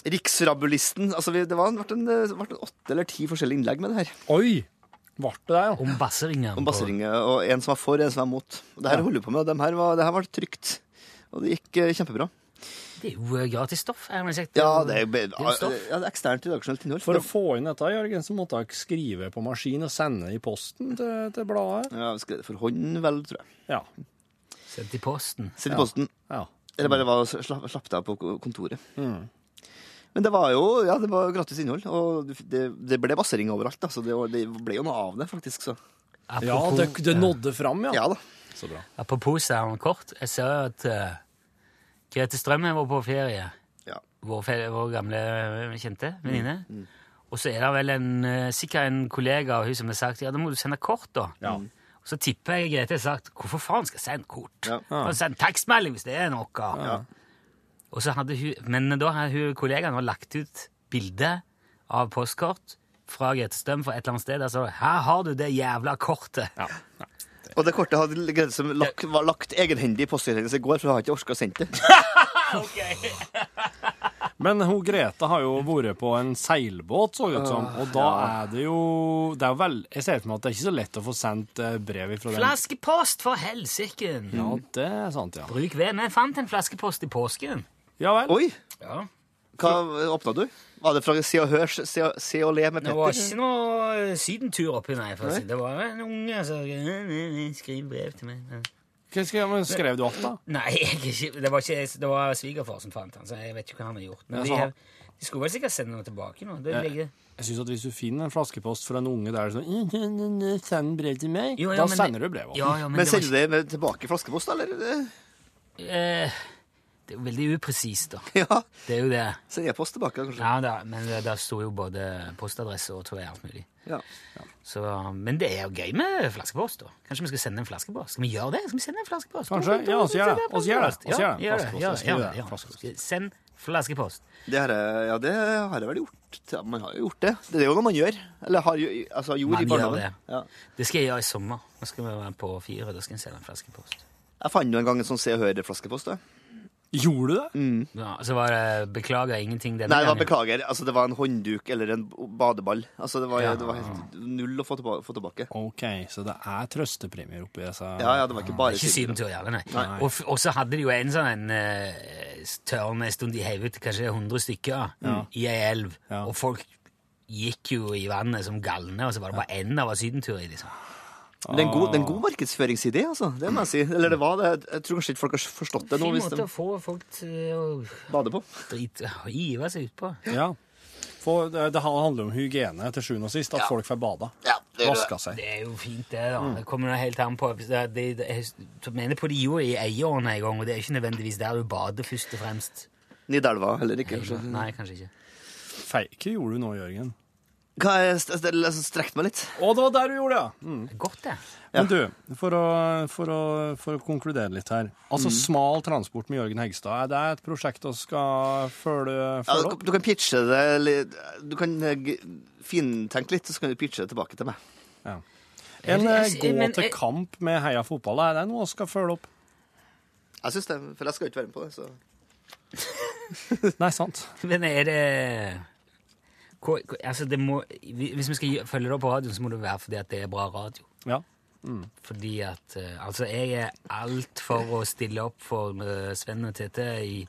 Riksrabulisten. Altså, vi, det var- det ble en, eh, det ble en åtte eller ti forskjellige innlegg med det her. Oi! Ble det der, ja? Om basseringen. Om på- basseringer, og en som var for, en som var mot. Og det her holder vi på med, og dem her var, det her var trygt. Og det gikk eh, kjempebra. Det er jo eh, gratis stoff. Er det sagt. Ja, det er, be- jo stoff. ja, det er eksternt redaksjonelt innhold. For å få inn dette, Jørgen, så måtte jeg skrive på maskin og sende i posten til, til bladet. Ja, vi skrev det for hånd, vel, tror jeg. Ja. Sendt i posten. Sitt i posten. ja. Eller bare var, slapp, slapp deg på ko- kontoret. Mm. Men det var jo ja, det var gratis innhold, og du f- det, det ble bassering overalt. Da, så det, var- det ble jo noe av det, faktisk. Så. Ja, Apropos, det, det nådde fram, ja. Ja da. Så bra. apropos Søren Kort, jeg så at eh, Grete Strømmen var på ferie. Ja. Vår, fe- vår gamle eh, kjente venninne. Og så er det vel en, eh, sikkert en kollega av hun som har sagt ja, da må du sende kort, da. Mm. Ja. Og så tipper jeg Grete har sagt hvorfor faen skal jeg sende kort? Ja. Kan sende tekstmelding hvis det er noe. Og så hadde hun, men da hadde hun kollegaen vår lagt ut bilde av postkort fra Grete Strøm fra et eller annet sted. Der står det 'Her har du det jævla kortet'. Og det kortet hadde Grete som lagt, var lagt egenhendig i postserien hennes i går, for hun har ikke orka å sende det. Men hun Grete har jo vært på en seilbåt, så ut som. Og da er det jo det er jo vel, Jeg ser for meg at det er ikke så lett å få sendt eh, brev ifra den. Flaskepost, for helsiken! Ja, det er sant, ja. Bruk ved. Vi fant en flaskepost i påsken. Ja vel. Oi! Ja. Hva åpna du? Var det fra Se og Hørs Se og, se og Le med Det var Petter? ikke noe eh, sydentur oppi, nei. For å si. Det var en unge som skrev brev til meg. Ja. Hva skal jeg, men skrev du alt, da? Nei, jeg, er ikke- det var, ikke- det var svigerfar som fant han, så jeg vet ikke hva han har gjort. Men Ja, de, så han- har- de skulle vel sikkert sende noe tilbake nå. Det Ja. ligger... Jeg synes at Hvis du finner en flaskepost fra en unge der sånn «N- n- n- Send brev til meg. Jo, ja, da men det- sender du brev. også. Ja, ja, men Men det var sender du det med tilbake i flaskepost, eller? Det- ikke- eh, Det er jo veldig upresist, da. Ja. Det er jo det. Sender jeg post tilbake, kanskje? Ja, da, men det- der sto jo både postadresse og tror jeg alt mulig. Ja. Så, men det er jo gøy med flaskepost, da. Kanskje vi skal sende en flaskepost? Skal vi gjøre det? Skal vi sende en flaskepost? Kanskje. Ja, oss gjør det. Oss gjør det. Oss Ja, gjør det. gjør det. Flaskepost. gjør det, Skriv gjør det. det, ja. Flaskepost. Send flaskepost. Det har jeg, ja, det har jeg vel gjort. Ja, man har jo gjort det. Det er jo noe man gjør. Eller har jo altså, gjort Man i gjør barnehagen. det. Ja. Det skal jeg gjøre i sommer. Nå skal vi være på fire, da skal jeg sende en flaskepost. Jeg fant jo en gang en sånn Se og Hør-flaskepost. da. Gjorde du det? Mm. Ja, så var det beklager ingenting denne Nei, det var gangen. beklager. Altså, det var en håndduk eller en badeball. Altså, det var, Ja. det var helt null å få tilbake. Få tilbake. OK, så det er trøstepremier oppi disse Ja, ja, det var ikke bare Ikke syden. sydentur, gjerne, nei. Nei. Og, f- og så hadde de jo en sånn en eh, tørn en stund de heiv ut kanskje 100 stykker i ei elv, Ja. og folk gikk jo i vannet som galne, og så var det bare én av sydentur i, liksom. Men Det er en god, det er en god markedsføringsidé, altså. Det må jeg si. Eller det var det. Jeg tror kanskje ikke folk har forstått det nå, Fin hvis måte de å få folk til å bader på. drite hive seg utpå. Ja. For det, det handler om hygiene til sjuende og sist, at folk får bada. Ja, det gjør det. Vaska seg. Det er jo fint, det. da. Mm. Det kommer nå helt an på hvis det, det, det, Jeg mener på de gjorde i Eieren en gang, og det er ikke nødvendigvis der du bader først og fremst. Nidelva heller ikke. kanskje. Nei, kanskje ikke. Fei, hva gjorde du nå, Jørgen? Hva er st- st- altså, Strekk meg litt. Å, det var der du gjorde det, ja! Mm. Det er Godt, det. Men du, for å, for, å, for å konkludere litt her. Altså, smal transport med Jørgen Hegstad, er det et prosjekt vi skal følge, Ja, følge du, opp? du kan pitche det litt. Du kan eh, g- fintenke litt, så kan du pitche det tilbake til meg. En eh, Jeg- jeg- gå men- til jeg- kamp med Heia fotball, er det noe vi skal følge opp? Jeg synes det, For jeg skal jo ikke være med på det. så... Nei, sant. Men er det Hva- hva- Altså, det må Hvis vi skal gi- følge det opp på radioen, så må det være fordi at det er bra radio. Ja. Fordi at eh, Altså, jeg er alt for å stille opp for eh, Sven og Tete i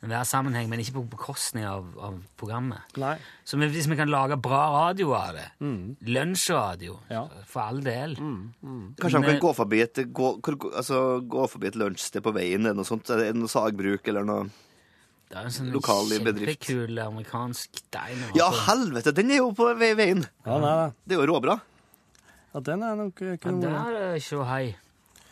hver sammenheng, men ikke på bekostning av, av programmet. Nei. Så men hvis vi kan lage bra radio av det, Mm. lunsjradio, Ja. for all del Kanskje han Men- kan gå forbi et, gå, hvor- gå- altså, gå forbi et lunsjsted på veien, eller noe sånt. Er det noe sagbruk eller noe Altså- Det er en sånn Lokal bedrift. kjempekul amerikansk diner. Ja, altså. helvete! Den er jo på ve- veien! Ja, nei, nei. Det er jo råbra. Ja, den er nok Ja, ikke noe der er sjå hei.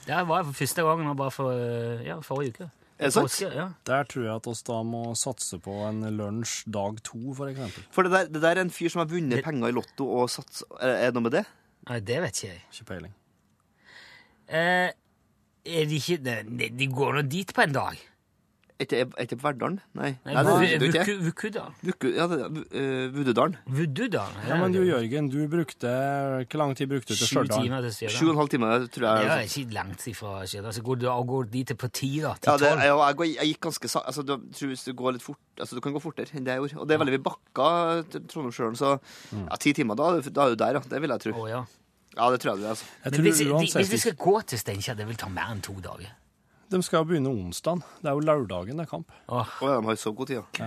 Der var jeg for første gangen, og bare for eh, ja, forrige uke. Er det sant? Påske, Ja. Der tror jeg at oss da må satse på en lunsj dag to, for eksempel. For det der, det der er en fyr som har vunnet penger i Lotto og sats... Er er det noe med det? Nei, det vet ikke jeg. Ikke peiling. Eh, er de ikke De, de- de går nå dit på en dag. Er ikke- er ikke på Verdalen? Nei. Nei, Nei, det er det er ikke. Vuku- Vukuda. Vuku- Ja, det er eh, Vududalen. Vududa. Ja, men du, Jørgen, du brukte Hvor lang tid brukte du til Sju Stjørdal? timer til Sju og Stjørdal. en halv time, tror jeg. Det er ikke langt ifra Stjørdal. Så går du og går dit til på ti, da. Til Ja, det, tolv. jeg, jeg, går- jeg gikk ganske sakte. Altså, du- tror hvis du går litt fort altså, Du kan gå fortere enn det jeg gjorde. Og det er veldig vi bakka til Trondheimsjøen, så ja, ti timer, da, da er du der, ja. Det vil jeg tro. Mm. Å, ja. Ja, det tror jeg du er. Altså. Jeg Men tror hvis, de, uansett hvis vi skal gå til Steinkjer, det vil ta mer enn to dager. ikke- De skal jo begynne onsdag. Det er jo lørdagen det er kamp. Å ja, de har så god tid, ja. Eh,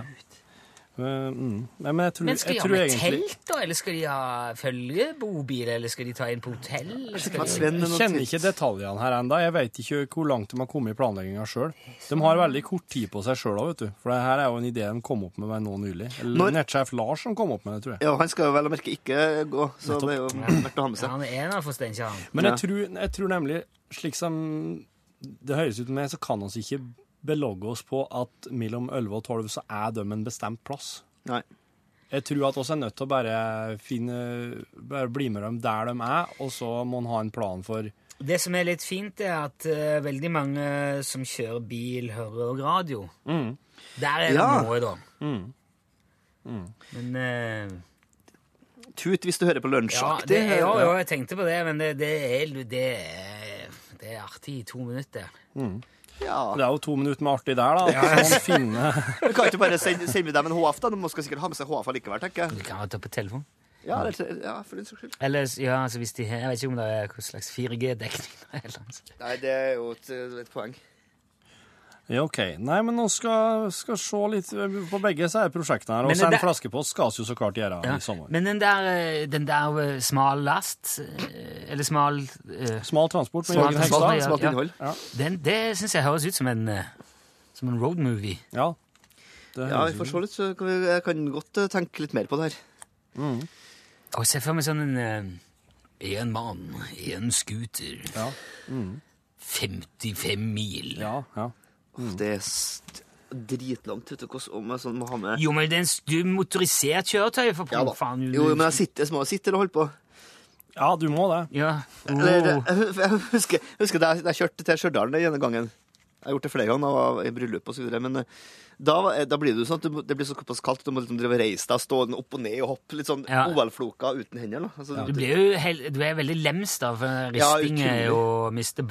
Mm. Nei, men jeg tror, Men skal de jeg ha tror med egentlig telt, da? Eller skal de ha følgebobil? Eller skal de ta inn på hotell? Eller skal Men de... Sven, er Jeg noe kjenner tid- ikke detaljene her ennå. Jeg vet ikke hvor langt de har kommet i planlegginga sjøl. De har veldig kort tid på seg sjøl òg, vet du. For det her er jo en idé de kom opp med meg nå nylig. Eller Når- nettsjef Lars som kom opp med det, tror jeg. Ja, han skal jo vel å merke ikke gå, så det er jo verdt å ha med Ja, seg. han er der for Steinkjer. han. Men Ja. jeg tror, jeg tror nemlig, slik som det høres ut med, så kan oss ikke belogge oss på at mellom 11 og 12 så er de en bestemt plass. Nei. Jeg tror at oss er nødt til å bare finne Bare bli med dem der de er, og så må en ha en plan for Det som er litt fint, er at eh, veldig mange som kjører bil, hører også radio. Der er det Ja. noe, da. Mm. Men eh, Tut hvis du hører på ja, det, lunsjaktig. ja, ja, jeg tenkte på det, men det, det, er, det, er, det er artig i to minutter. Ja. Det er jo to minutter med artig der, da. Ja. Sånn finne Men kan ikke du bare sende, sende dem en HF, da? De skal sikkert ha med seg HF likevel, tenker jeg. Du kan ta på telefon. Ja, det, ja for din saks skyld. Eller, ja, altså hvis de, jeg vet ikke om det er hva slags 4G-dekning det er. eller noe sånt. Nei, det er jo et, et poeng. Ja, OK. Nei, men nå skal skal se litt eh, på begge disse her prosjektene her. Men Og det sende der- flaskepost skal vi jo så klart gjøre Ja. i sommer. Men den der, eh, den der eh, smal last, eh, eller smal eh, Smal transport med Smal Jørgen transport med Hegstad. Jørgen- Smalt ja. innhold. den, Det syns jeg høres ut som en, eh, som en road movie. Ja. Det Ja, høres vi ut- får se litt. Så kan vi, jeg kan godt eh, tenke litt mer på det her. Og se for meg sånn en eh, En mann, en scooter. Ja. Mm. 55 mil. Ja, ja. Mm. Det er st- dritlangt, vet du, hvordan om jeg sånn må ha med Jo, men det er en stum motorisert kjøretøy, for ja, da. faen. Jo, men jeg sitter, jeg må sitte og holde på. ja, du må det. Ja. Eller, Oh. jeg, jeg husker, jeg husker da jeg- da jeg kjørte til Stjørdal den ene gangen. Jeg har gjort det flere ganger da jeg var i bryllup og så videre, men eh, da, var- da blir det jo sånn at du, må- det blir såpass kaldt at du må liksom drive og reise deg, stå den opp og ned og hoppe, litt sånn Ja. OL-floka uten hender. Da. Altså, Du blir jo hel, du er veldig lems da, for Ja, risting utrolig. og mister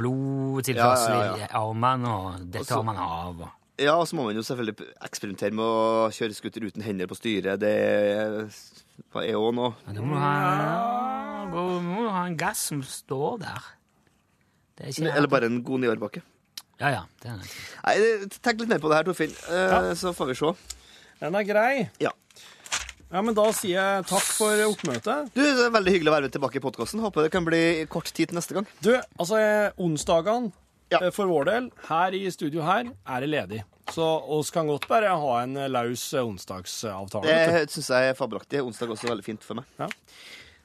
blodtilførsel Ja, ja, ja, i armene, og dette så- har man av. Og. Ja, og så må man jo selvfølgelig eksperimentere med å kjøre skuter uten hender på styret. Det er hva er jo nå. Men du må ha, gå, må du ha en gass som står der. Det er ikke Eller bare en god niårbakke. Ja, ja. Det er det. Nei, det- tenk litt mer på det her, Torfinn. Eh, Så får vi se. Den er grei. Ja. Ja, men da sier jeg takk for oppmøtet. Du, det er veldig hyggelig å være med tilbake i podkasten. Håper det kan bli kort tid til neste gang. Du, altså, eh, onsdagene Ja. eh, for vår del, her i studio her, er det ledig. Så oss kan godt bare ha en eh, laus eh, onsdagsavtale. vet Det syns jeg er fabelaktig. Onsdag er også veldig fint for meg. Ja.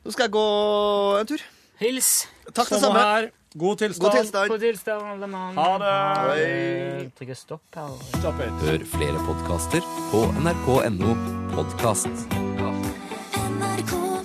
Nå skal jeg gå en tur. Hils Takk, du. det Sånn samme. her. God tilstand. God tilstand. på tilstand, alle mann. Ha det. Eh, Trykker stopp her. Slapp helt. Hør flere podkaster på nrk.no podkast. NRK